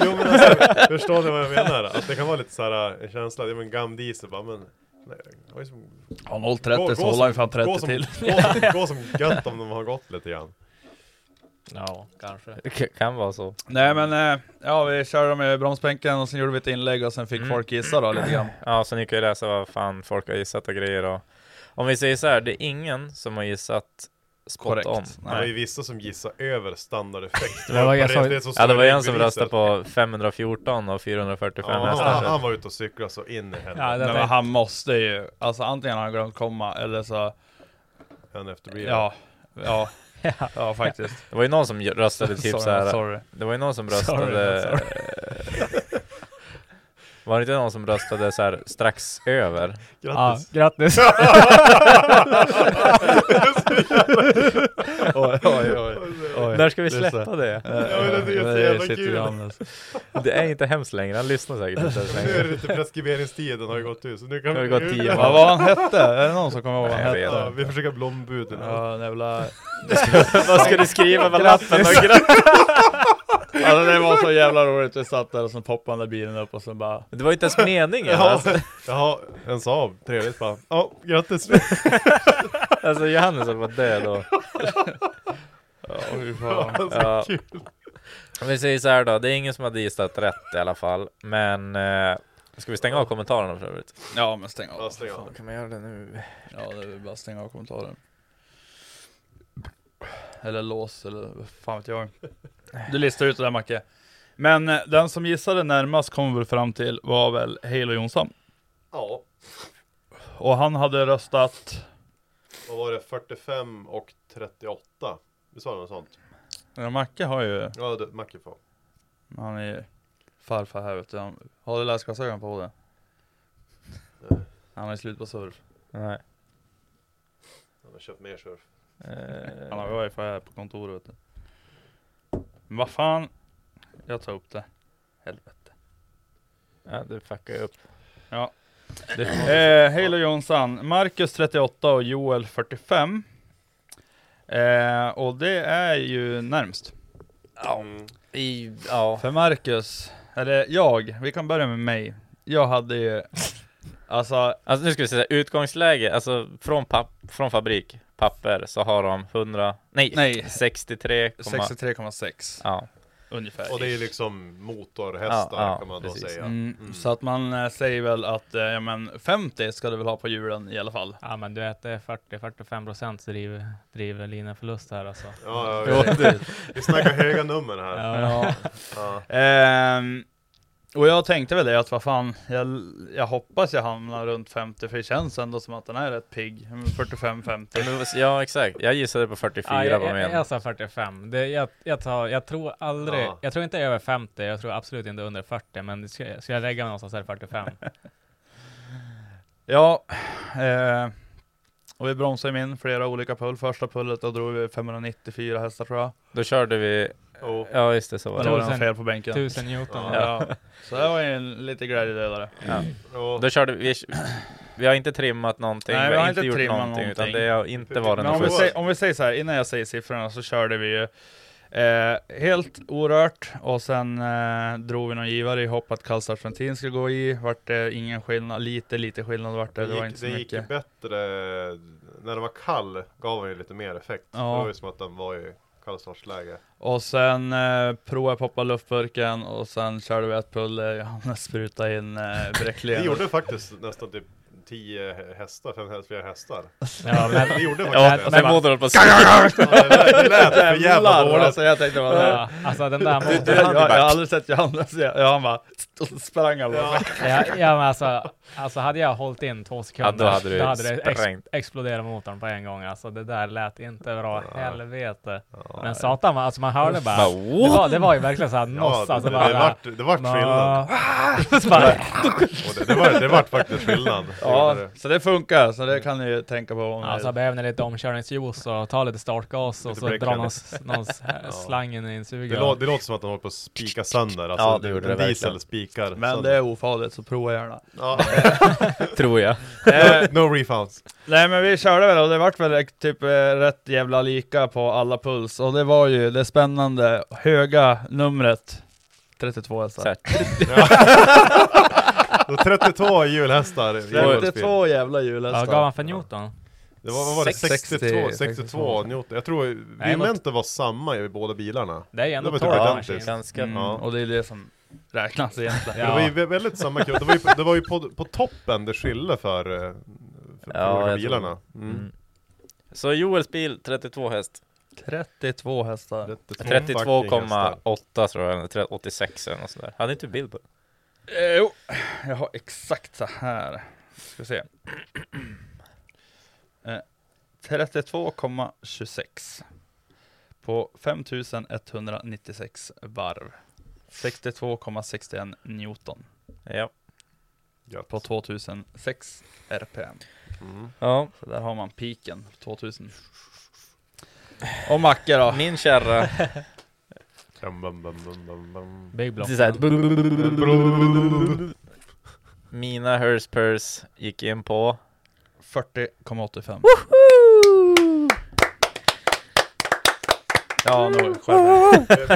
jo men alltså, förstår ni vad jag menar? Att det kan vara lite såhär en känsla, det var en gam diesel bara men... Nej, det var ju som, Ja, 0,30 så håller han ju fan 30 till. Gå, som- gå som gött om de har gått lite grann. Ja, kanske. Det k- kan vara så. Nej men, eh, ja vi körde med bromsbänken och sen gjorde vi ett inlägg och sen fick Mm. folk gissa då lite grann. Ja, så ni kan ju läsa vad fan folk har gissat och grejer och om vi säger så här, det är ingen som har gissat spot Korrekt. on. Nej. Det var ju vissa som gissade över standardeffekt. Det var jag som- som Ja, det var står i en som beviset. röstade på 514 och 445 Ja, hästar. han, han var ute och cyklade så in i Ja, henne. det- Men, tänkte- han måste ju, alltså antingen har han glömt komma eller så, En efterbliven. ja, ja, ja faktiskt. Det var ju någon som ju- röstade typ Sorry, så här. sorry. Det var ju någon som Sorry, röstade... sorry. Var det inte någon som röstade så här strax över? Eh, Ja, Grattis! grattis! Oj, oj, oj. oj. När ska vi det är så- släppa det? Eh, Ja, men det är så eh, jävla sitter kul. vi annars. Det är inte hemskt längre, han lyssnar säkert inte ens Nu är det längre. lite preskriberingstiden har ju gått ut så nu kan Nu har vi... det gått tio Vad var han hette? Är det någon som kommer ihåg vad han Nej, jag vet hette? Ja, vi försöker blombuden. Ja, en jävla... Vad ska du skriva på lappen då? Grattis! Alltså det var så jävla roligt, vi satt där och så poppade den där bilen upp och sen bara Det var ju inte ens meningen! Ja, Alltså, jaha, en Saab, trevligt bara. Ja, grattis! alltså Johannes höll på att dö då. Ja, fy fan. Ja. Om vi säger så här då, det är ingen som hade gissat rätt i alla fall, men eh, ska vi stänga av kommentarerna för övrigt? Ja men stäng av. Ja, stäng av. Kan man göra det nu? Ja, det är bara att stänga av kommentaren. Eller lås, eller vad fan vet jag. Du listar ut det där Macke. Men eh, den som gissade närmast kom väl fram till var väl Halo Jonsson. Ja, Och han hade röstat, vad var det? 45 och 38? Vi sa något sånt? ja, Macke har ju, Ja, det, Macke får. han är ju farfar här vet du. Han, har du läsglasögon på dig? Han är slut på surf. Nej. Han har köpt mer surf. Eh, Han har wifi här på kontoret vet du. Men vad fan. Jag tar upp det. Helvete. ja, du fuckar ju upp. Ja. Det, Eh, Halo Jonsson, Marcus 38 och Joel 45. Eh, och det är ju närmst. ja, i, ja. För Marcus, eller jag, vi kan börja med mig. Jag hade ju, alltså, Alltså nu ska vi säga utgångsläge, alltså från, papp, från fabrik, papper, så har de 100, nej, Nej. 63, 63,6 ja. ungefär. Och det är ju liksom motorhästar Ja, ja, kan man då precis. säga. mm, Så att man eh, säger väl att, eh, ja men 50 ska du väl ha på julen i alla fall. Ja men du vet, det är 40-45 procent driv, drivlineförlust här alltså. Ja, ja, ja. Vi snackar höga nummer här. Ja. Ja. Ja. Ehm, Och jag tänkte väl det att vad fan, jag, jag hoppas jag hamnar runt 50 för det känns ändå som att den är rätt pigg. 45-50. Men vad- Ja exakt, jag gissade på 44 jag, var jag, med. jag, sa 45. Det, jag, jag, tar, jag tror aldrig, Ja. jag tror inte jag är över 50, jag tror absolut inte under 40, men ska, ska jag lägga mig någonstans så är det 45. Ja, eh, och vi bromsade ju in flera olika pull. Första pullet då drog vi 594 hästar tror jag. Då körde vi, Oh. ja just det så var Men då var det. det något fel på bänken. 1000 Newton. Ja. Ja. Så det var ju en lite glädjedödare. Ja. Och, Då körde vi, vi har inte trimmat någonting, Nej, vi har inte, gjort någonting, utan det har inte varit Men om något vi, fusk. säger, om vi säger så här, innan jag säger siffrorna så körde vi ju eh, helt orört och sen eh, drog vi någon givare i hopp att Karlstads Frontin skulle gå i. Vart det ingen skillnad, lite lite skillnad vart det, det det var gick, inte så det gick ju mycket. bättre, när den var kall gav den ju lite mer effekt. Ja. För Det var ju som att den var i kallstartsläge. Och sen eh, provade jag poppa luftburken och sen körde vi ett pull där Johannes sprutade in eh, Det bräcklingar. gjorde faktiskt nästan typ 10 hästar, 5 hästar, flera hästar. Ja, men, Det gjorde Ja, faktiskt och alltså, det. sen men- Modo höll på att skrika. Ja, det. lät för jävla dåligt. Alltså, jag tänkte bara, ja, alltså den där jag, motorn. jag, jag har aldrig sett Johannes, jag, jag, han bara, och så sprang han bara. Ja, ja, men alltså, alltså hade jag hållit in två sekunder, Ja, då hade du det ex- sprängt. exploderat motorn på en gång. Alltså det där lät inte bra, helvete. Ja. Men satan, man- alltså man hörde bara. Bara, Det var, det var ju verkligen såhär Ja, noss. det, Alltså det, det, bara, vart, det vart "Nå." skillnad. Så bara, Och det, det, var, det vart faktiskt skillnad. Det Ja, gjorde det. så det funkar, så det kan ni ju tänka på. Om Alltså ni, behöver ni lite omkörningsjuice och ta lite startgas och Lite så dra breakdown. någon, s- någon s- slang in i en Det, lå, sugare. det låter som att de håller på att spika sönder. Alltså, Ja, det gjorde en det verkligen. diesel spikar men det är ofarligt, så prova gärna. Ja. tror jag. eh, No refunds. nej men vi körde väl och det vart väl typ eh, rätt jävla lika på alla puls. Och det var ju det spännande, höga numret alltså. 32 Så hästar. här, Det var 32 hjulhästar i Eurospin. 32 jävla Ja, gav hjulhästar. han för Newton? Det var, vad var det? 60, 62, 62 62. Newton. Jag tror Nej, momentet var samma i båda bilarna. Det är ju Det ändå var torrt. typ Ja, identiskt. maskin. ganska Mm, Ja. och det är det som räknas egentligen. Men Det var ju vä- väldigt samma kul. Det var ju, det var ju på, på toppen det skilde för, eh, för, Ja, för olika jag bilarna. Mm. Mm. Så Joels bil, 32 häst. 32 hästar. 32 fucking hästar. 32,8 tror jag, eller 86 eller något sånt där. Hade inte du bild på det? Eh, jo, jag har exakt så här. Ska se. Eh, 32,26 på 5196 varv. 62,61 Newton Ja. Gött. på 2006 RPM. Mm. ja. Så där har man piken 2000. Och Macke då? Min kärra. Bam, bam, bam, bam, bam, bam. Big block. Det är så här- Mina Hurspurs gick in på 40,85. Ja, nu Vet- vet-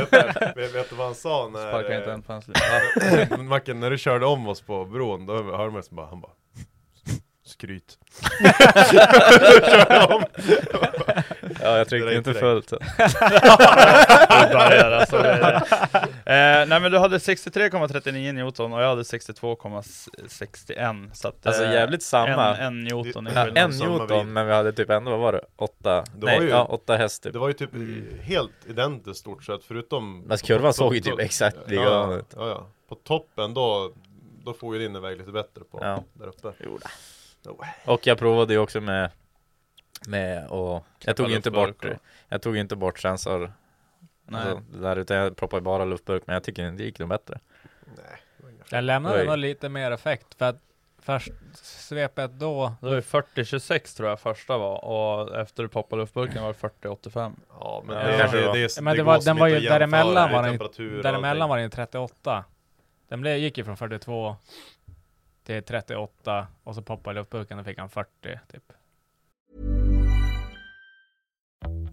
vet- Vet du vad han sa sparkar inte när, en på hans liv. eh, Macken, när du körde om oss på bron, då hörde man så bara, han bara Skryt. Körde om. Ja, jag Det tryckte är inte direkt. fullt. Det där, alltså, det är det. Eh, nej men du hade 63,39 Newton och jag hade 62,61 så att, eh, Alltså jävligt samma. En, en Newton i Ja, skillnad. En Samma bil. Newton, men vi hade typ ändå, vad var det? Åtta? Det Nej, var ju- ja, åtta häst typ. Det var ju typ helt identiskt stort sett förutom Men kurvan såg ju på- typ exakt likadan ja, ut. ja, ja. På toppen då, då får ju din iväg lite bättre på Ja. där uppe Och jag provade ju också med, med och jag tog ju inte bort, luftburk och- jag tog ju inte bort sensor, Nej. alltså, det där, utan jag proppade ju bara luftburk, men jag tycker det gick nog bättre. Jag lämnade Oj. nog lite mer effekt för att först svepet då. Det var ju 40,26 tror jag första var och efter du poppade luftburken var det 40,85. Ja men Ja. det, Kanske det, det var. det, det, eh, Men det går var- som den var inte ju att jämföra. däremellan Det är var den ju- temperatur och Däremellan allting. var det ju 38. Den blev, gick ju från 42 till 38 och så poppade luftburken och fick han 40 typ.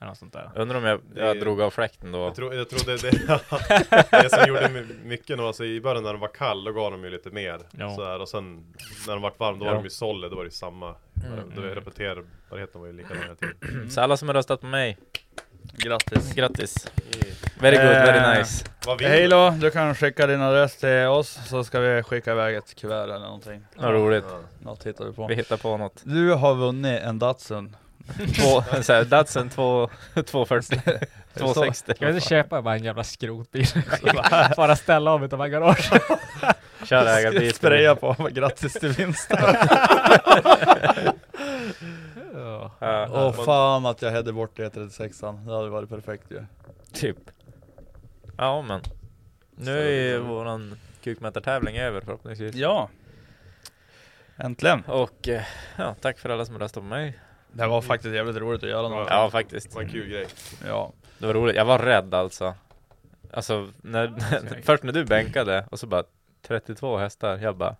Eller något sånt där. Undrar om jag, jag drog av fläkten då. Mm. Jag, tror, jag trodde det, det som gjorde my- mycket nu, alltså i början när den var kall, då gav de ju lite mer. Ja. Så här, och sen när den vart varm, då var Ja. de ju solid, då var det ju samma. Mm, Då repeterbarheten var ju likadan hela tiden. Så alla Mm, som har röstat på mig, Grattis. grattis! Very good, very Eh, nice! Vad vill Hej du? då, du kan skicka din adress till oss så ska vi skicka iväg ett kuvert eller någonting. Vad roligt, Något hittar vi vi på. hittar på något. Du har vunnit en Datsun. Två, så här, Datsun två- 240, 260. Kan vi inte köpa bara en jävla skrotbil? bara ställa om utanför garaget. Kör ägarbil. Spraya på, grattis till vinsten. Ja. Ja, Åh fan att jag hade bort E36an, det hade varit perfekt ju. Typ. Ja men. Nu är ju våran kukmätartävling över förhoppningsvis. Ja. Äntligen. Och eh, ja, tack för alla som röstade på mig. Det var faktiskt jävligt roligt att göra något. Ja faktiskt. Vad en kul grej. Ja. Det var roligt. Jag var rädd alltså. Alltså, när, först när du bänkade och så bara 32 hästar. Jag bara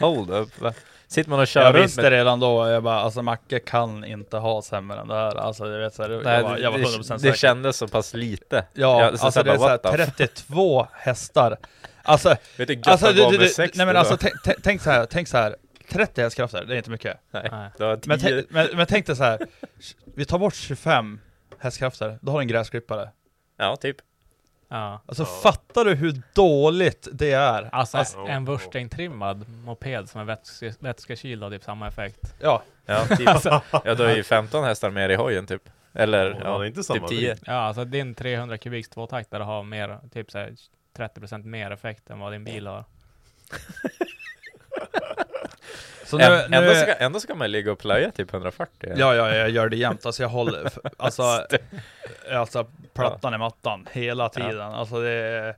Hold up. va? Sitter man och kör jag runt visste med- redan då, jag bara alltså Macke kan inte ha sämre än det här. Alltså jag vet så här, Nej, jag, var, jag var 100% det, säker. det kändes så pass lite. Ja, Jag- så- så alltså jag det är bara, såhär what the f- 32 hästar. Alltså, Vet du, Gustav alltså, du, gav du, mig du, 60 nej men då. alltså tänk, tänk- tänk så här, tänk så här. 30 hästkrafter, det är inte mycket. Nej, det var Men, tänk, 10. men, men tänk dig så här. vi tar bort 25 hästkrafter, då har du en gräsklippare. Ja, typ. Ja. Alltså fattar du hur dåligt det är? Alltså, Alltså- en Wursteng-trimmad moped som är vätske, vätskekyld har typ samma effekt. Ja, Ja, typ. ja, då är ju 15 hästar mer i hojen typ. Eller Ja, det är ja, inte typ samma 10. Ja, alltså din 300 kubiks tvåtaktare har mer, typ så här 30% mer effekt än vad din bil har. så nu, Ä- nu Ändå, ska, ändå ska man ligga och plöja typ 140. Ja, ja, jag gör det jämt. Alltså jag håller, f- alltså, alltså plattan i mattan hela tiden. Alltså det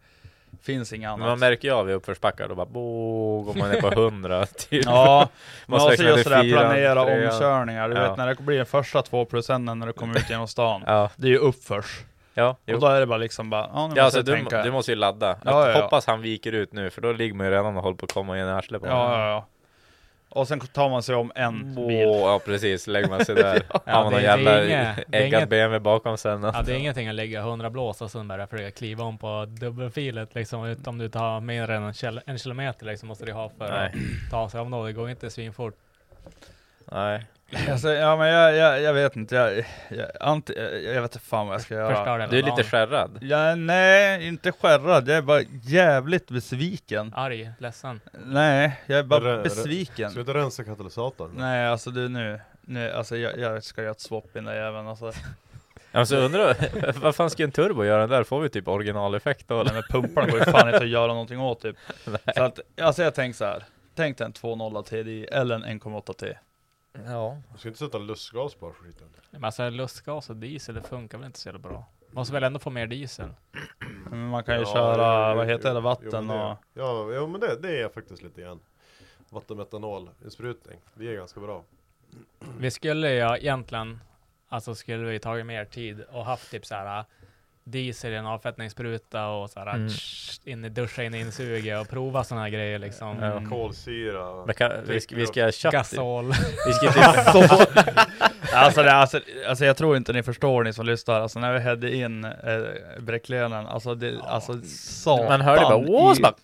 finns inget Men annat. man märker ju av i uppförsbackar, då bara bo, går man ner på 100 typ. Ja, men Måste också räkna just till det där fyran, planera trean. omkörningar. Du Ja. vet när det blir den första två procenten när du kommer ut genom stan. Ja, Det är ju uppförs. ja, jo. Och då är det bara liksom bara, ja nu ja måste alltså, jag du, tänka. du måste ju ladda. Att, Ja, ja, ja. Hoppas han viker ut nu, för då ligger man ju redan och håller på att komma in i arslet på ja, ja, ja. Och sen tar man sig om en Åh, bil. ja precis, lägger man sig där. Mm. ja, Ja, man det- har det jävla är inget- det är äggad inget- BMW bakom sen. alltså. Ja, det är ingenting att lägga 100 blås och sen börja försöka kliva om på dubbelfilet liksom. ut- Om du tar mindre än en, kil- en kilometer liksom måste du ha för Nej. att ta sig om då. Det går inte svinfort. Nej. Alltså, ja men jag, jag, jag vet inte, jag, jag, anti, jag, jag vet inte fan vad jag ska göra. Förstör den Du är dagen. lite skärrad. Ja, nej, inte skärrad. Jag är bara jävligt besviken. Arg, ledsen. Nej, jag är bara Rö- rö- besviken. Sluta rensa katalysatorn. Nej, alltså du nu. nu alltså, jag, jag ska göra ett swap i den där jäveln. Alltså. Alltså undrar, vad fan ska en turbo göra där? Får vi typ originaleffekt då? Nej, eller? men pumparna går ju fan inte att göra någonting åt typ. Så att, alltså jag tänker så här. Tänk dig en 2.0 TDI eller en 1.8 T. Ja. Du ska inte sätta lustgas på skiten. Men alltså lustgas och diesel, det funkar väl inte så jävla bra. Måste väl ändå få mer diesel? Men man kan ju Ja, köra, jo, vad jo, heter det, jo, vatten jo, men det- och... Ja, jo, men det, det är faktiskt lite grann. Vattenmetanolinspruting, det är ganska bra. Vi skulle ju egentligen, alltså skulle vi tagit mer tid och haft typ så här diesel i en avfettningsspruta och så här äh, Mm. tsch, in i duscha in i insuget och prova sådana här grejer liksom. Ja. Mm. Kolsyra. Men kan, vi, ska, vi ska köpa Gasol. Vi ska typ, Alltså, det, alltså, alltså jag tror inte ni förstår ni som lyssnar. Alltså när vi hade in eh, bräcklenen, alltså det, alltså satan man hörde bara åh, i- så bara,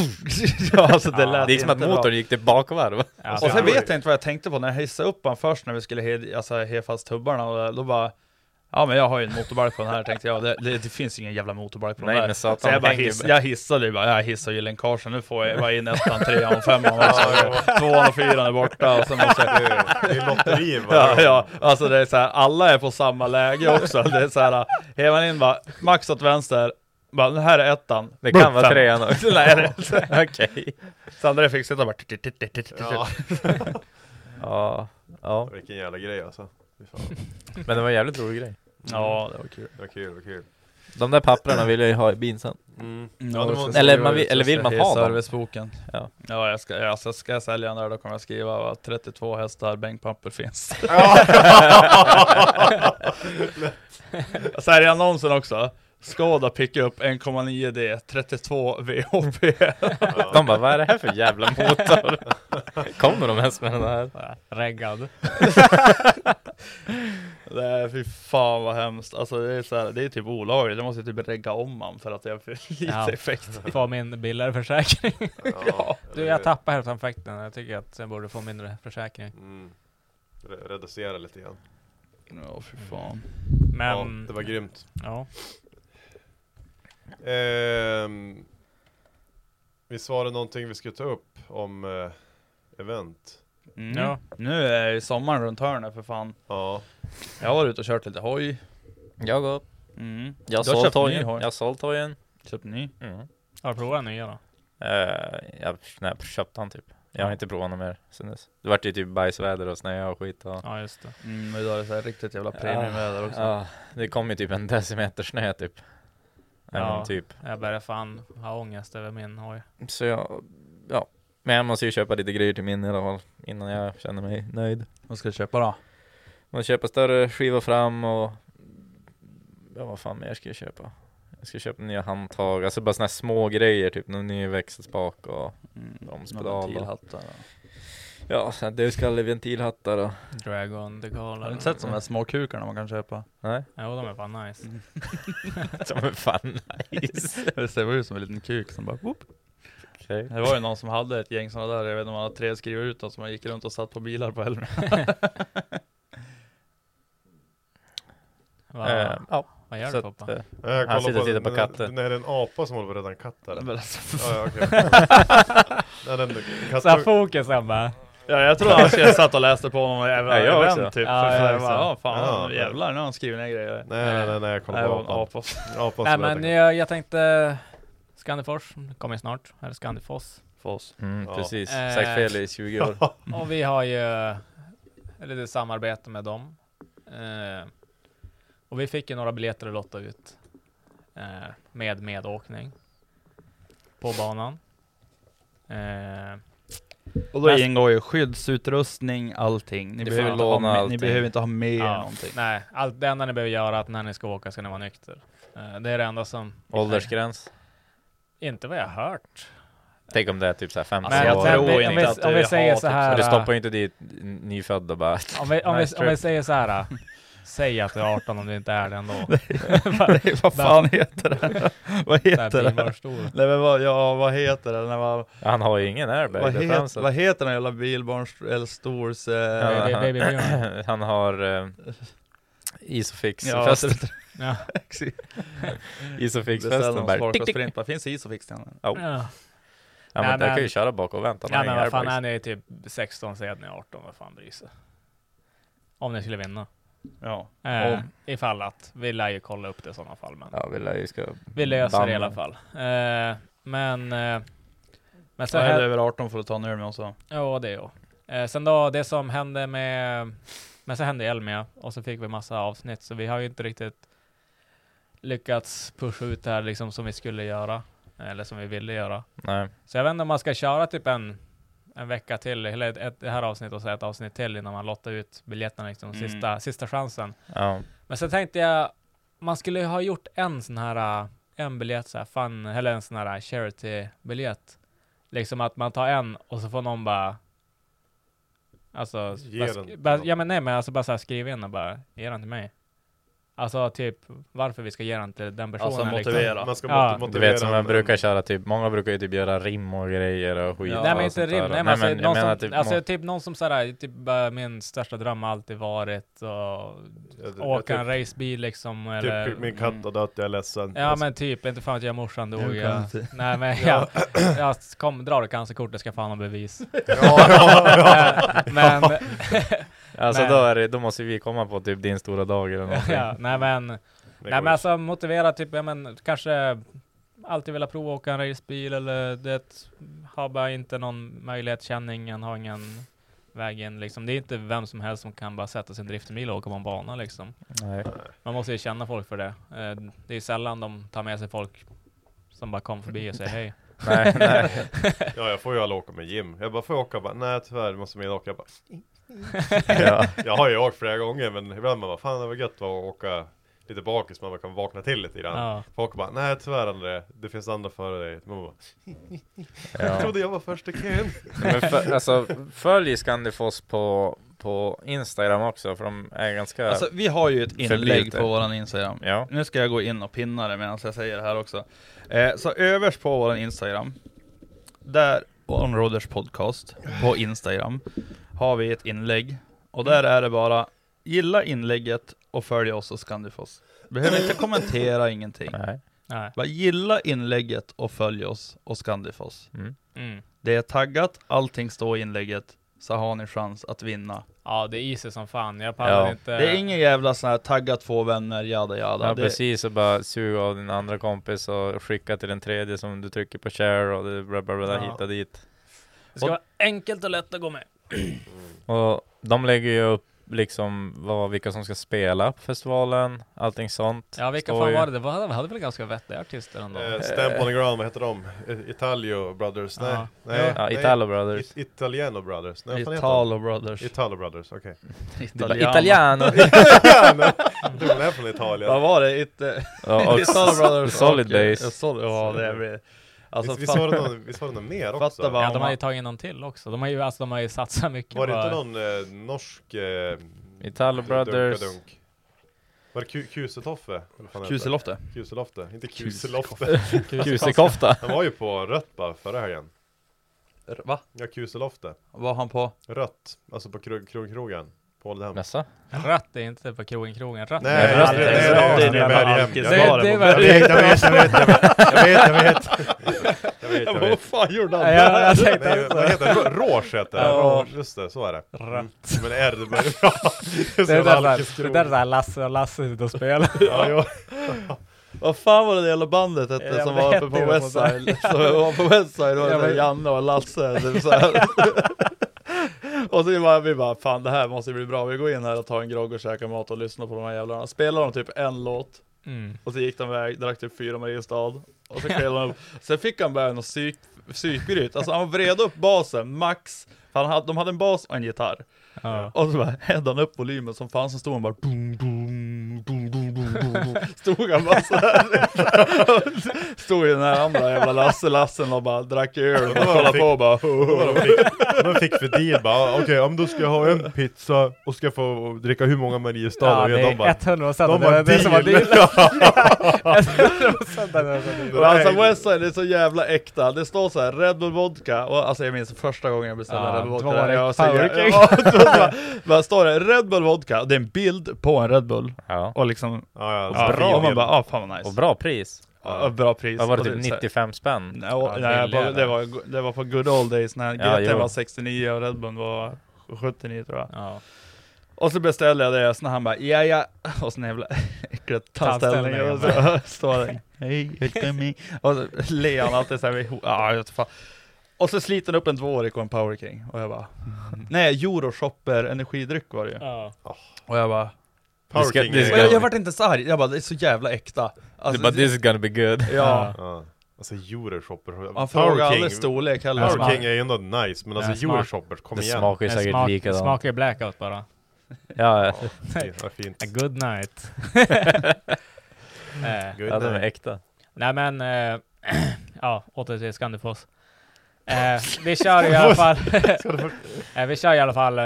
ja, alltså det Ja, lät det gick som att inte bra. motorn gick till bakvarv. Ja, Och så- alltså, sen vet jag inte vad jag tänkte på när jag hissade upp han först när vi skulle he, alltså, heja fast tubbarna och då bara Ja men jag har ju en motorbike på den här tänkte jag, det, det, det finns ingen jävla motorbike på den Nej, där. men Så satan, jag, bara tänker hiss, bara. jag hissade ju bara, jag hissar ju länkagen, nu får jag, var in ettan, trean och femman och så, tvåan och fyran är borta och sen måste jag... Det är lotteri varje ja, gång. ja, alltså det är så här, alla är på samma läge också. Det är så här, hevar man in bara, max åt vänster, bara, det här är ettan. Det kan Bum, vara fem. trean också. Nej, det är inte. Okej. Så André fick sitta och bara... tit, tit, tit, tit, tit. Ja. Ja, ja. Vilken jävla grej alltså. Fy fan. Men det var en jävligt rolig grej. Ja, det var kul. Det var kul, det var kul. De där papperna vill jag ju ha i bin sen. Mm. Ja, det måste- eller, man, vill- eller vill man i ha dem? serviceboken. Ja. Ja, jag ska, alltså, ska jag sälja den där då kommer jag skriva att 32 hästar bänkpapper finns. jag säger i annonsen också. Skoda pickup 1,9D 32 VHP. De bara, vad är det här för jävla motor? Kommer de ens med den här? Reggad. Nej fy fan vad hemskt. Alltså det är, så här, det är typ olagligt. Det måste jag typ regga om man för att det är för lite Ja. effekt. Få min billigare försäkring. Ja, Du, jag tappar hälften av fäkten. Jag tycker att jag borde få mindre försäkring. Mm. Re- Reducera lite grann. Ja fy fan. Men, Ja, det var grymt. ja. Ehm, vi svarade någonting vi skulle ta upp om eh, event. Mm. Ja. Nu är ju sommaren runt hörnet för fan. Ja, Jag har varit ute och kört lite hoj. Jag går. Mm. Jag har Du har sålt köpt ny hojen. hoj. Jag har sålt hojen. Köpt ny. Mm. Har du provat den nya då? Eh, jag, när jag köpte han typ. Jag har inte provat någon mer sen dess. Det vart ju typ bajsväder och snö och skit och... Ja, just det. Mm, men idag är det så här riktigt jävla premiumväder också. Ja, det kom ju typ en decimeter snö typ. Eller Ja. någon typ. Jag börjar fan ha ångest över min hoj. Så jag, ja. Men jag måste ju köpa lite grejer till min i alla fall. Innan jag känner mig nöjd. Vad ska du köpa då? Man köpa större skiva fram och... Ja vad fan mer ska jag köpa? Jag ska köpa nya handtag, alltså bara såna här små grejer typ. Någon ny växelspak och... Bromspedal Mm. Någon då. ventilhattar då. Ja, så här dödskalle, ventilhattar och... Dragon, det Har du kollar. inte sett de där små kukarna man kan köpa? Nej? Jo, de är fan nice. Som är fan nice. det ser ut som en liten kuk som bara whoop. Okej. Det var ju någon som hade ett gäng sådana där, jag vet inte om han hade tre skrivit ut dem som han gick runt och satt på bilar på helgen. Va, Eh, ja. vad gör så du att, Poppa? eh, Ja, jag Han kollar sitter och tittar på men- katter. Nej, det är en apa som håller på att rädda en katt där. Men alltså, Ja, ja, okej. Nej, den Så här katt... fokus jag bara. ja, jag tror han jag satt och läste på någon jävla Ja, jag event också. typ. Ja, för, jag jag också. bara, ja fan Ja. jävlar, nu har han skrivit ner grejer. Nej, nej, nej, nej, jag kollar Nej, det var en på apan. apa. Apan Nej som men räddar jag, jag tänkte Skandifors kommer ju snart, eller Skandifoss. Foss. Mm, Ja. precis. Eh. Sagt fel i 20 år. Och vi har ju lite samarbete med dem. Eh, och vi fick ju några biljetter att lotta ut. Eh, med medåkning. På banan. Eh, Och då Men- ingår ju skyddsutrustning, allting. Ni, Du behöver får inte, ha låna med, ni allting. behöver inte ha med er ja, någonting. nej, allt, det enda ni behöver göra är att när ni ska åka ska ni vara nykter. Eh, det är det enda som... Åldersgräns. Inte vad jag har hört. Tänk om det är typ såhär 15 Men Alltså, jag tror år. Men inte vi- om vi säger så typ här- Du stoppar ju inte dit n- nyfödda bara. Om vi, om Nice vi, om vi trip. säger så här. eh, Säg att du är 18 om du inte är det ändå. Nej, vad fan heter det? Vad heter Där det? blir man stor. Nej men vad, ja, vad heter det? När man, Han har ju ingen airbag vad, där fram, så heter, att- vad heter den jävla bilbarns eller stors... Eh, Ja, Baby- han- baby björn. Han har eh, Isofix Ja, festen. Ja. Isofix Beställ festen någon bara. spark Tick, och tick. sprint. Bara, Finns Isofix till den? Ja, Ja. men Nej, där kan men- ju köra bak och vänta. Han Ja har men ingen vad fan, är airbags. ni typ 16 så är ni 18, vad fan bryr sig? Om ni skulle vinna. Ja. Eh, Om. ifall att, vi lär ju kolla upp det i sådana fall. Men Ja, vi lär ju ska... vi löser det i Damn. alla fall. Eh, men... Eh, men Så sen, är du här, över 18 får du ta en öl med oss. va? ja det är jag. Eh, sen då, det som hände med... Men så hände Elmia, och så fick vi massa avsnitt, så vi har ju inte riktigt lyckats pusha ut det här liksom som vi skulle göra. Eller som vi ville göra. Nej. Så jag vet inte om man ska köra typ en, en vecka till, eller ett, ett, det här avsnittet och så ett avsnitt till innan man lottar ut biljetterna, liksom, Mm. sista, sista chansen. Ja. Men sen tänkte jag, man skulle ju ha gjort en sån här, äh, en biljett så här, fan, eller en sån här äh, charity-biljett. Liksom att man tar en och så får någon bara Alltså, Ge bara, den sk- till bara, någon. alltså ja men nej men alltså bara så här, skriv in och bara, ge den till mig. Alltså typ varför vi ska ge den till den personen. Alltså liksom. motivera. ja. Du vet som man brukar köra typ, många brukar ju typ göra rim och grejer och skit. Nej och men inte sånt rim, där. nej men, alltså, jag någon menar som, typ alltså må- typ någon som såhär, typ eh, min största dröm har alltid varit att det- åka typ- en racebil liksom. Eller, Typ min katt har dött, jag är ledsen. Ja Alltså. men typ, inte fan att jag morsan dog. Du Jag, kan inte. nej men jag, Ja. jag kom, drar det cancerkortet ska fan ha bevis. ja, men... Alltså men- då, är det, då måste vi komma på typ din stora dag eller någonting. ja, nej men, går nej men ju. alltså motivera typ, ja, men kanske alltid vilja prova att åka en racebil eller det har bara inte någon möjlighet, känningen har ingen väg in liksom. Det är inte vem som helst som kan bara sätta sin driftingbil och åka på en bana liksom. Nej. Man måste ju känna folk för det. Eh, Det är sällan de tar med sig folk som bara kom förbi och säger hej. ja jag får ju aldrig åka med Jim. Jag bara, får jag åka? Jag Bara, nej tyvärr, du måste med åka. Jag bara, Ja. Jag har ju åkt flera gånger men ibland man bara, fan det var gött att åka lite bakis, man bara kan vakna till lite grann. Ja. Folk bara, nej tyvärr André, det finns andra före dig. Man bara, Ja. jag trodde jag var först i kön. Men för, alltså, följ Scandifoss på, på Instagram också, för de är ganska Alltså vi har ju ett inlägg förblivna. på våran Instagram. Ja. Nu ska jag gå in och pinna det medan jag säger det här också. Eh, så överst på våran Instagram, där Onroaders podcast på Instagram, har vi ett inlägg. Och där är det bara gilla inlägget och följ oss och Scandifoss. Behöver inte kommentera ingenting. Nej. Nej. Bara gilla inlägget och följ oss och Scandifoss. Mm. Mm. Det är taggat, allting står i inlägget, så har ni chans att vinna. Ja, det är easy som fan. Jag pallar inte. Det är ingen jävla sån här tagga två vänner, jada jada. Eh, Ja det, precis, och bara suga av din andra kompis och skicka till den tredje som du trycker på share och det bla bla bla Ja. hit och dit. Det ska vara enkelt och lätt att gå med. Och de lägger ju upp liksom vad, vilka som ska spela på festivalen, allting sånt. Ja, vilka Står fan ju- var det? Det var, vi hade väl ganska vettiga artister ändå? Eh, Stamp on the ground, vad heter de? I- Italio Brothers? Nej. Ja. nej, Ja, nej. Italo Brothers. It- Italiano Brothers? Nej, vad fan heter Italo de? Brothers. Italo Brothers, okej. Det är bara Italiano. Italiano! Jag tror de är från Italien. Vad var det? It, Ja, och Italo Brothers. Solid och, eh, Base. Solid, ja, det blir... Alltså, vi, vi fan. såg någon, vi såg någon mer också. Fatta bara Ja, de har ju tagit någon till också. De har ju, alltså, de har ju satsat mycket Var det på... inte någon eh, norsk... Eh, Italo Brothers. Dunkadunk? Var det Ku- Kusetoffe? Eller vad fan heter det? Kuselofte. Kuselofte, inte Kusekofta. Kuselofte. Kusekofta. Han var ju på rött bara förra helgen. Va? Ja, Kuselofte. Var han på? Rött, alltså på krog, krogkrogen. På Ålidhem. Nästa? Rött är inte på krogen krogen. Rött Nej, är rött är- det är- det är- det är- Det det är- det är- är- det är- jag vet, jag vet, jag vet, jag vet, jag vet. Jag vet, jag vet. Vad fan gjorde han? Nej, där? jag tänkte Nej, också. vad heter det? Rå- rås heter det. Ja. Rå- just det, så är det. Mm. Rött. Men R, det börjar bra. Det Det är som är där, det Alkeskrog. där där Lasse och Lasse sitter och spelar. Ja, jo. Vad fan var det där jävla bandet hette Ja, som det var hette uppe på ju något Westside? sånt där. Som var på Westside, det var Ja, det men- Janne och Lasse, typ så här. Och så var vi bara, fan det här måste bli bra, vi går in här och tar en grogg och käkar mat och lyssnar på de här jävlarna. Spelade de typ en låt, Mm. och så gick de iväg, drack typ fyra Mariestad, och så spelade de, sen fick han börja något psyk, psykbryt, alltså han vred upp basen max, för han hade, de hade en bas och en gitarr. Ja. Och så bara hädde han upp volymen som fanns, så stod han bara dum, dum, dum, dum, dum, dum, dum. Stod han bara såhär Stod ju den här andra jävla Lasse Lassen och bara drack öl och bara kollade på och bara De fick för deal bara, "Ah, okej, ja, men då ska jag ha en pizza och ska jag få dricka hur många Mariestad Ja, och det de bara, är 100% det de var bara, det som var deal. dealen. Ja, 100% det var dealen. Men alltså Westside är så jävla äkta, det står så här Red Bull Vodka, och alltså jag minns första gången jag beställde Ja, Red Bull då var Vodka det jag Power King. ja, då bara- bara står det Red Bull Vodka, och det är en bild på en Red Bull Ja. Och liksom, Ja, ja, och alltså, bra, och man bild. bara ah fan vad nice Och bra pris. Ja, och bra pris. Vad var det Och typ det är så här- 95 spänn? Nej, och- nej på, det, var, det var på good old days när Ja, GT jo. var 69 och Red Bull var 79 tror jag. Ja. Och så beställde jag det och så när han bara ja ja, och så en jävla äcklig tandställning och så står det hej, välkommen Och så ler han alltid såhär, ja jag vet fan. Och så sliter han upp en tvåårig och en Power King och jag bara Nej, Euroshopper energidryck var det ju. Ja. Och jag bara Power Det ska- King det är- ska- Men jag, jag vart inte så arg, jag bara det är så jävla äkta. Du Alltså, bara this is gonna be good. Ja. Ja. Alltså Euroshopper, Man frågar aldrig storlek heller. Power Smak. King är ju ändå nice, men Ja, alltså smak. Euroshopper, kom Det igen. smakar ju Det säkert smak, likadant. smakar ju blackout bara. Ja, ja. Ja, vad fint. A good night. Eh, Good ja, de är night. äkta. Nej men, eh, ja, åter till Scandifoss. Eh, vi kör i alla fall, eh, vi kör i alla fall eh,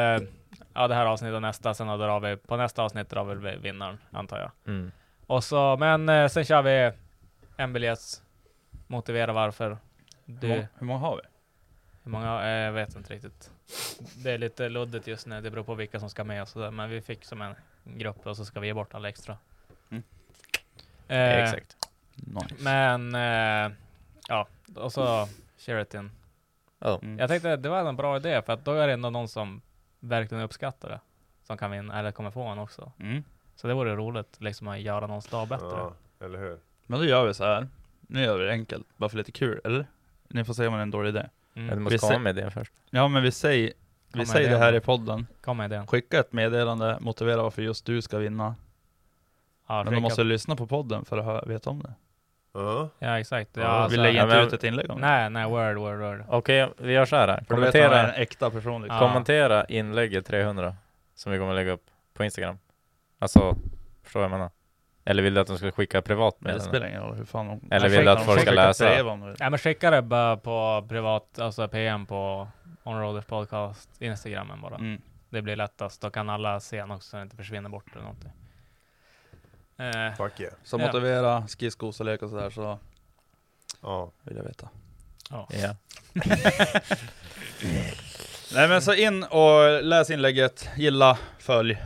ja, det här avsnittet och nästa, sen drar vi, på nästa avsnitt drar vi vi vinnaren, antar jag. Mm. Och så, men eh, sen kör vi en biljett, motivera varför. Du, Hur många- hur många har vi? Hur många? Eh, Jag vet inte riktigt. Det är lite luddigt just nu, det beror på vilka som ska med och sådär. Men vi fick som en grupp och så ska vi ge bort alla extra. Eh, Exakt. Men, eh, ja, och så Sheraton. Ja. Mm. Jag tänkte att det var en bra idé, för att då är det ändå någon som verkligen uppskattar det. Som kan vinna, eller kommer få en också. Mm. Så det vore roligt, liksom att göra någons dag bättre. Ja, eller hur? Men då gör vi så här. Nu gör vi det enkelt, bara för lite kul, eller? Ni får säga om det är en dålig idé. Mm. Ja, du måste Vi komma sä- med idén först. Ja, men vi säger, vi med säger det idén. här i podden. Kom med idén. Skicka ett meddelande, motivera varför just du ska vinna. Ja, men skicka- de måste lyssna på podden för att hö- veta om det. Ja, exakt. Ja, vi lägger inte ut ett inlägg om det. Nej, nej, word, word, word. Okej, vi gör så här. För då vet han är en äkta person, liksom. Kommentera inlägget 300 som vi kommer lägga upp på Instagram. Alltså, förstår vad jag menar? Eller vill du att de ska skicka privat Men det meddelande? spelar ingen roll hur fan de- Eller Jag vill du skickar att dem- folk ska skickar ett läsa? brev om det. Ja men skicka det bara på privat, alltså PM på Onroaders podcast, Instagramen bara. Mm. Det blir lättast, då kan alla se den också så den inte försvinner bort eller någonting. Eh, Fuck yeah. Så ja. motivera, skiss, gos och lek och sådär så... Ja. Vill jag veta. Ja. Ja. Nej men så in och läs inlägget, gilla, följ,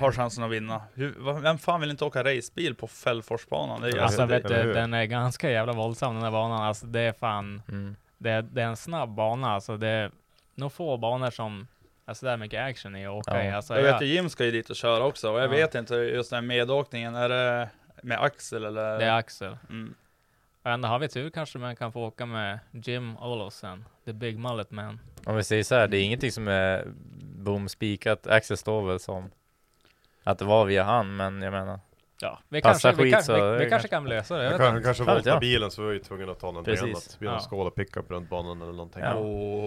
har chansen att vinna. Hur, va- vem fan vill inte åka racebil på Fällforsbanan? Det är Alltså vet Eller du, hur? den är ganska jävla våldsam den där banan. Alltså det är fan, Mm. det, det är en snabb bana. Alltså det är nog få banor som, alltså där mycket action i att åka i. Alltså, jag vet ju Jim ska ju dit och köra också och jag Ja. vet inte just den här medåkningen, är det med Axel eller? Det är Axel. Mm. Och ändå har vi tur kanske man kan få åka med Jim Olosen, the big mullet man. Om vi säger så här, det är ingenting som är bomspikat. Axel står väl som att det var via han, men jag menar. Ja, vi passar kanske- vi skit kanske- vi- så vi det kanske kan lösa det, jag Jag vet kan, inte. kanske Fan voltar vet jag. bilen så var vi ju tvungna att ta någonting Precis. annat. Vi har Ja. en skål och pickup runt banan eller någonting. Ja. Det är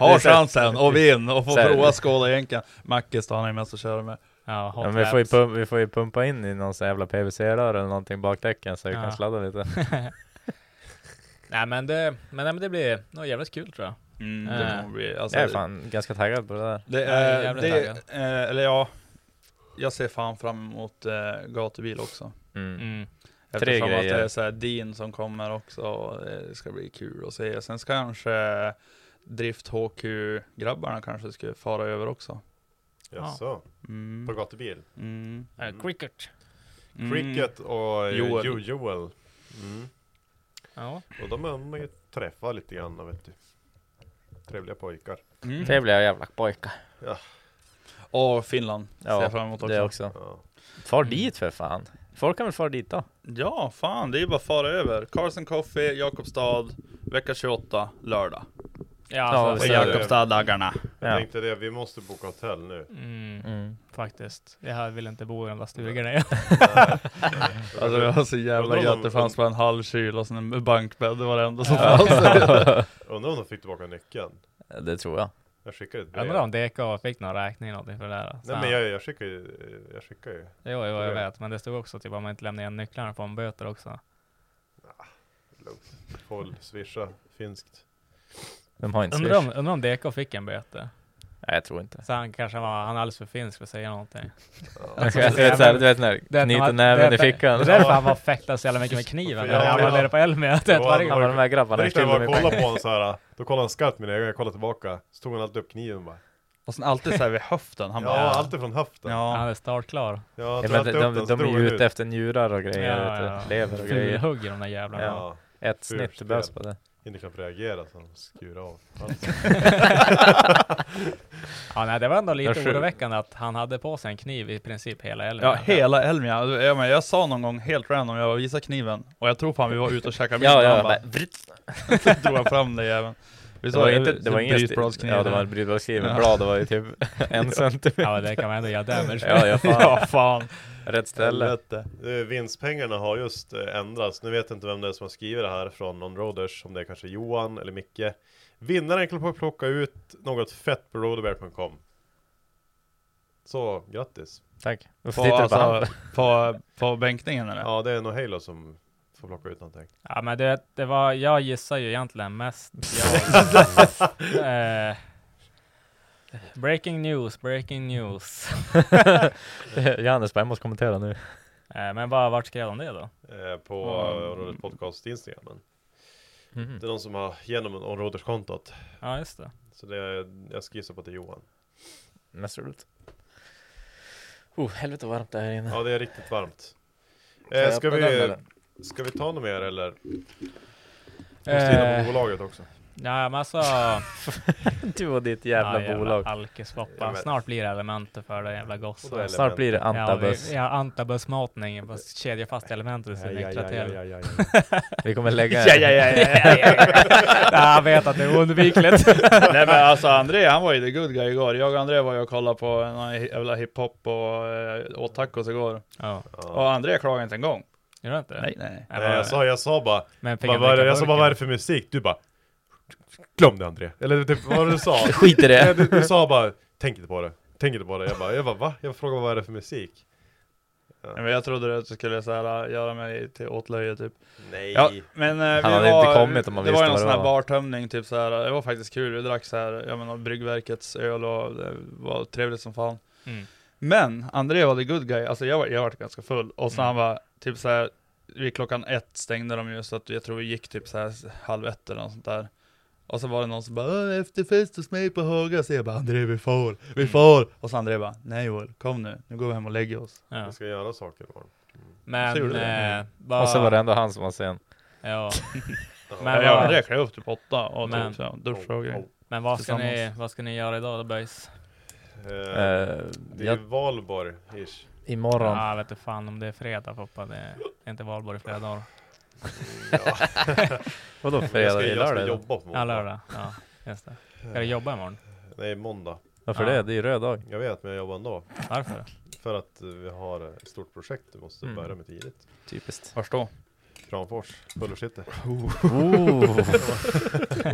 Har så här- chansen och vinn och få Så här- prova skåla jänken. Macke står han ju mest och köra med. Ja, Ja, men vi, får ju pumpa, vi får ju pumpa in i någon sån här jävla PVC-rör eller någonting bakdäcken så vi Ja. kan sladda lite. Nej men det, men, nej, men det blir nog jävligt kul tror jag. Mm, det Eh, kommer bli- alltså, jag är fan ganska taggad på det där. Det jag är är, jävligt det, taggad. eh, eller ja, jag ser fan fram emot eh, gatubil också. Mm. Mm. Eftersom Tre att det grejer. är så här Dean som kommer också, och eh, det ska bli kul att se. Sen ska kanske Drift HQ-grabbarna kanske skulle fara över också. Mm. Jaså? På gatubil? Eh, cricket. Mm. Cricket och eh, Joel. Jo- Joel. Mm. Ja. Och de har man ju träffat lite grann vet du. Trevliga pojkar. Mm. Trevliga jävla pojkar. Ja. Och Finland ser Ja, jag fram emot också. det också. Far Mm. dit för fan. Folk kan väl fara dit då? Ja, fan, det är ju bara att fara över. Carlsen Coffee, Jakobstad, vecka 28, lördag. Ja, alltså, och så- Jakobstad-dagarna. Jag tänkte det, vi måste boka hotell nu. Mm, Mm. Faktiskt. Jag här vill inte bo i de där stugorna. jag. Alltså det var så Undrar jävla om gött, de- det fanns bara en halv kyl och sen en bankbädd, det var det enda som Ja. fanns. Undrar om de fick tillbaka nyckeln? Det tror jag. Jag skickade ett Jag brev. Undrar om DK fick någon räkning eller någonting för det där. Så Nej men han- jag, jag skickar ju, jag skickar ju. Jo, jo, jag vet. Men det stod också typ om man inte lämnar igen nycklarna får man böter också. Håll, swisha, finskt. De har inte Undrar om, Swish. undrar om DK fick en böter. Nej, jag tror inte. Så han kanske var, han är alldeles för finsk för att säga någonting. Alltså, jag vet såhär, du vet när Det är att de knyter har- näven i det är att- fickan. Det är därför han var fäktad så jävla mycket med kniven. Ja, när han ja. var nere på Elmia. Jag vet varje Alla gång. de här grabbarna Tänk när jag killar bara mig kollade på honom såhär, då kollade han skarpt mina ögon, jag kollade tillbaka, så tog han alltid upp kniven bara. Och sen alltid såhär vid höften, han Ja, bara... alltid från höften. Ja. Han är startklar. Ja, Ja, tog men de, alltid upp de, den, så de drog är han ju ut. ute efter njurar och grejer, Ja, vet du. ja. lever och grejer. Fulhugger de där jävlarna. Ja. Ett snitt Fult behövs på spel. det. Inte knappt reagera så han skurar av. Alltså. Ja, nej, det var ändå Jag lite sjukt. oroväckande att han hade på sig en kniv i princip hela helgen. Ja, hela Elmia. Jag, men jag sa någon gång helt random, jag bara, visa kniven. Och jag tror fan vi var ute och käkade middag, Ja, ja, han bara, bara, vritt. så drog han fram den jäveln. Vi det sa, var "Eh, inte, det var ingen brytbladskniv." Ja, det var en brytbladskniv, men Ja. blad var ju typ en centimeter. Ja, men det kan man ändå göra damage. Ja, ja, fan. Ja, fan. Rätt ställe. Helvete. Eh, Vinstpengarna har just eh, ändrats. Nu vet jag inte vem det är som har skrivit det här från Onroaders, om det är kanske Johan eller Micke. Vinnaren kan plocka ut något fett på roaderbear.com. Så, grattis! Tack. Varför På, tittar du på alltså, han? på, på bänkningen eller? Ja, det är nog Halo som får plocka ut någonting. Ja, men det, det var, jag gissar ju egentligen mest. Jag, eh, Breaking news, breaking news. Johannes bara, jag måste kommentera nu. Eh, Men bara vart skrev de det då? Eh, på Mm. mm. Onroaders podcast Instagramen. Det är någon som har genom Onroaders kontot. Ja, just det. Så det är, jag ska gissa på att det är Johan. Mest roligt. Oh, helvete vad varmt det är här inne. Ja, det är riktigt varmt. Ska jag Eh, ska, öppna den, vi, eller? ska vi ta något mer eller? Vi Eh. måste in på bolaget också. Nej Eh, men alltså... du och ditt jävla bolag. Alkispoppa. Jag vet. Snart blir det elementet för det jävla gossen. Snart Element. blir det Antabus. Ja, vi- ja antabusmatning. Bara Kedja fast elementet så Ja, vi ja, mäktar ja, ja, till. ja, ja. Vi kommer lägga- ja, ja, ja, ja, ja, ja. ja, Jag vet att det är oundvikligt. Nej men alltså André han var ju the good guy igår. Jag och André var ju och kollade på någon jävla hiphop och eh, åt tacos igår. Ja. Och André klagade inte en gång. Gör du inte? Nej nej. Nej, jag, sa, jag sa bara, Men fick bara han vad är det- dricka jag sa bara burken? vad är det för musik? Du bara Glöm det André! Eller typ vad var det du sa? Skit i det. Nej, Du, du sa bara Tänk inte på det, tänk inte på det. Jag bara, jag bara va? Jag frågade vad är det för musik? Nej, Men jag trodde att du skulle så här, göra mig till åtlöje typ. Nej. Ja, men eh, Han vi hade var, inte kommit om han Det visste var ju någon vad det sån här var. bartömning typ så här. Det var faktiskt kul. Vi drack så här, ja men Bryggverkets öl och det var trevligt som fan. Mm. Men André var the good guy. Alltså jag, var- jag var ganska full. Och sen Mm. han var typ så här. Vid klockan ett stängde de ju så att jag tror vi gick typ så här halv ett eller något sånt där. Och så var det någon som bara "Åh, efterfest hos mig på Haga, så jag bara André vi får, Mm. vi får! Och så André bara nej Joel, kom nu, nu går vi hem och lägger oss. Vi ska göra saker imorgon. Men... Så gjorde vi det. eh, bara- Mm. Och så var det ändå han som var sen. Ja. Ja, jag vad- hade räknat upp typ åtta och typ Men- så här, duscha och Oh, Oh, grejer. Men vad ska, ni, Tillsammans. vad ska ni göra idag då boys? Eh, det är jag- valborg ish. Imorgon. Ja, jag vet inte fan om det är fredag Foppa. Det är inte valborg i flera dagar. Vadå Men jag fredag? ska- Det är jag ska lördag idag. jobba på måndag. Ja, lördag. Ja, just det. Ska du jobba imorgon? Nej, måndag. Varför Ja. det? Det är ju röd dag. Jag vet, men jag jobbar ändå. Varför? För att eh, vi har ett stort projekt vi måste Mm. börja med tidigt. Typiskt. Vars då? Kramfors, Pulvercity. Oh.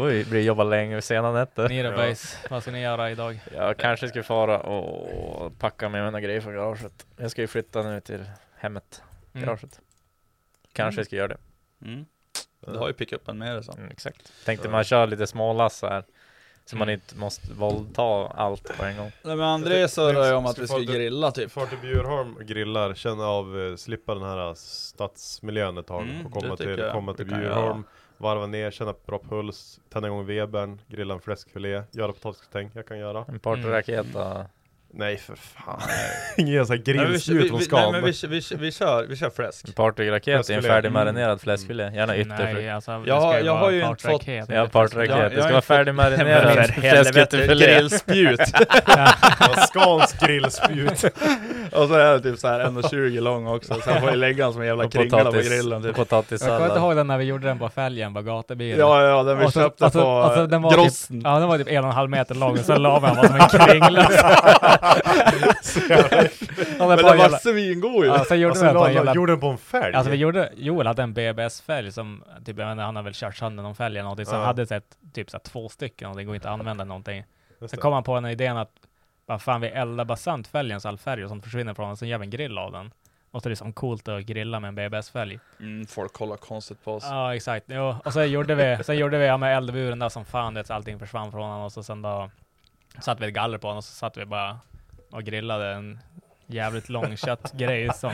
Oj, blir jobba länge, sena nätter. Ni då boys, vad ska ni göra idag? Jag kanske ska fara och packa med mina grejer från garaget. Jag ska ju flytta nu till hemmet, Mm. garaget. Kanske Mm. ska göra det. Mm. Du har ju pickupen med dig så. Mm, exakt. Tänkte Ja. man kör lite smålass så här. Så man Mm. inte måste våldta allt på en gång. Nej men André surrar ju om att vi ska grilla typ. Eh, Far till Bjurholm grillar, känna av, eh, slippa den här stadsmiljön ett tag Mm, och det komma tycker till, jag komma till vi kan Bjurholm, göra. varva ner, känna bra puls, tända igång webern, grilla en fläskfilé, göra potatisgratäng, jag kan göra. En partyraket och... Nej för fan. Ingen sån här Nej, men vi- vi- grillspjut från vi- Scan. Nej men vi, vi, vi, kör, vi kör fläsk. En partyraket är en Fläskfilé. färdigmarinerad fläskfilé, gärna ytterfrukt. Nej, alltså, det Jag har, ska jag har vara ju inte fått... partraket. Ja, partraket. Jag- jag Det har ska inte vara fått- Men färdigmarinerad för helvete, fläskfilé. grillspjut! Ja, Skans grillspjut. och så är det typ såhär 1,20 lång också, så jag får ju lägga en som en jävla Och kringla på potatis- grillen typ. och potatissallad. Jag kommer inte ihåg den när vi gjorde den på fälgen på gatubilen. Ja, ja, den vi Och så- köpte och så- på, och så den var Grossen. Typ, ja, den var typ en och en halv meter lång och sen la vi den bara som en kringla. Så jävla äckligt. Ja, Men bara den var jävla- svingod ju. Ja, Alltså, sen gjorde Och sen vi den på la- en jävla... gjorde den på en fälg. Alltså vi gjorde, Joel hade en BBS-fälg som, typ, jag vet inte, han har väl kört sönder någon fälg eller någonting. Så Ja. han hade sett typ så här, två stycken och det går inte att använda någonting. Just Sen det. kom han på den här idén att, vad fan vi eldar bara sönder fälgen så all färg och sånt försvinner från den, sen gör vi en grill av den. Och så är det som coolt att grilla med en BBS-fälg. Mm, folk kollar konstigt på oss. Ja, exakt. Jo. Och sen gjorde vi, sen gjorde vi, ja men eldade vi ur den där som fan, det, så allting försvann från honom och så sen då satte vi ett galler på honom och så satt vi bara och grillade en jävligt lång köttgrej som,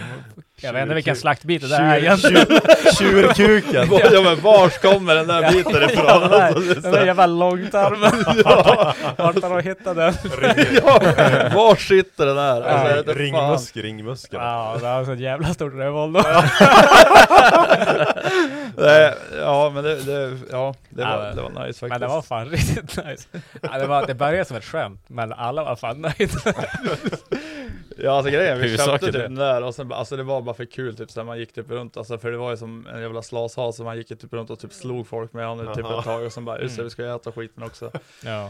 jag vet inte vilken Tjurkuk- slaktbit det där är tjur- egentligen. tjur- tjurkuken. Ja, men vars kommer den där biten ifrån? Ja, den där- Alltså, Den där jävla långtarmen. Ja. Vart har de hittat den? Ja, var sitter den där? Alltså, jag vet inte Ringmusk, fan. ringmusk. Ja, det var så ett jävla stort rövhål då. Nej, ja men det, det, ja, det, Ja, var, men- det var nice faktiskt. Men det var fan riktigt nice. Ja, det, var, det började som ett skämt, men alla var fan nöjda. Ja alltså grejen, vi Huvudsaken köpte typ det. den där och sen bara- alltså det var bara för kul typ så här, man gick typ runt alltså för det var ju som en jävla slashas så man gick ju typ runt och typ slog folk med honom typ Aha. ett tag och sen bara just Mm. det, vi ska ju äta skiten också. Ja.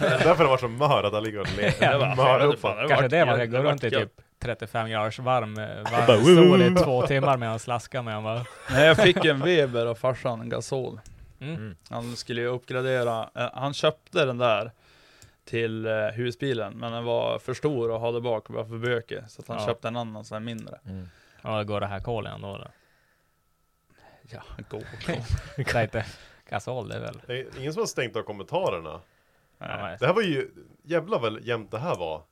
Det är därför det var så mör att han ligger och Ja, leker. fan, Mör det upp fan, honom. Kanske det man ska jävligt- gå det runt i vart typ 35 graders varm, eh, bara, varm sol "Woo!" i två timmar medan han slaskar med honom. Nej jag fick en Weber av farsan, en gasol. Mm. Han skulle ju uppgradera, eh, han köpte den där till eh, husbilen men den var för stor och hade bak och var för bökig så att han Ja. köpte en annan sån här mindre. Ja, det går det här kolen ändå då? Ja, gå och Nej, inte gasol det är väl? Det är Ingen som har stängt av kommentarerna? Nej. Det här var ju jävlar vad jämnt det här var.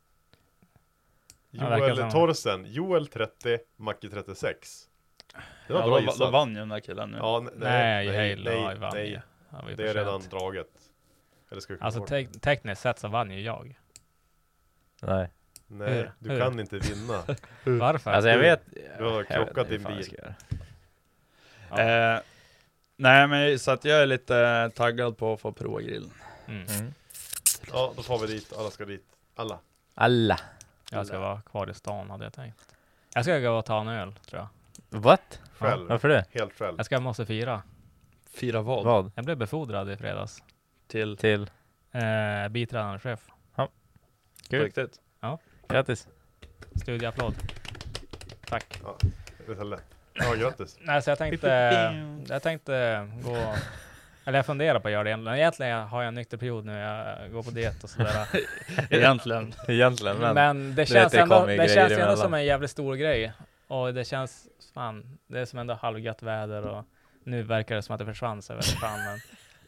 Ja, verkar Joel som- Torsen, Joel 30, Macke 36. Det var Ja, bra då- då gissat. vann ju den där killen nu. Ja, n- Nej, nej, nej, Halo nej, vann ju. nej. Han var ju Det för är redan sent. draget. Eller ska vi komma Alltså ihåg? tek- tekniskt sett så vann ju jag. Nej. Nej, du Hur? kan inte vinna. Varför? Mm. Alltså jag vet... Du har jag vet krockat inte din fan jag bil. ska göra. Eh, nej men så att jag är lite eh, taggad på att få prova grillen. Mm. Ja, då får vi dit. Alla ska dit. Alla. Alla. Jag ska vara kvar i stan hade jag tänkt. Jag ska gå och ta en öl tror jag. What? Själv. Varför det? Helt själv. Jag ska, måste fira. Fira vad? Vad? Jag blev befordrad i fredags. Till? Till? Eh, biträdande chef. På Kul. riktigt? Ja. Grattis. Studieapplåd. Tack. Ja, det är lätt. Ja, grattis. Nej, så jag tänkte, jag tänkte gå, eller jag funderar på att göra det egentligen. Egentligen har jag en nykter period nu, jag går på diet och sådär. Egentligen. Egentligen men... men, du det vet, känns ändå, kommer ju det grejer känns ju ändå emellan. som en jävligt stor grej. Och det känns, fan, det är som ändå halvgött väder och nu verkar det som att det försvann så jag vet inte fan men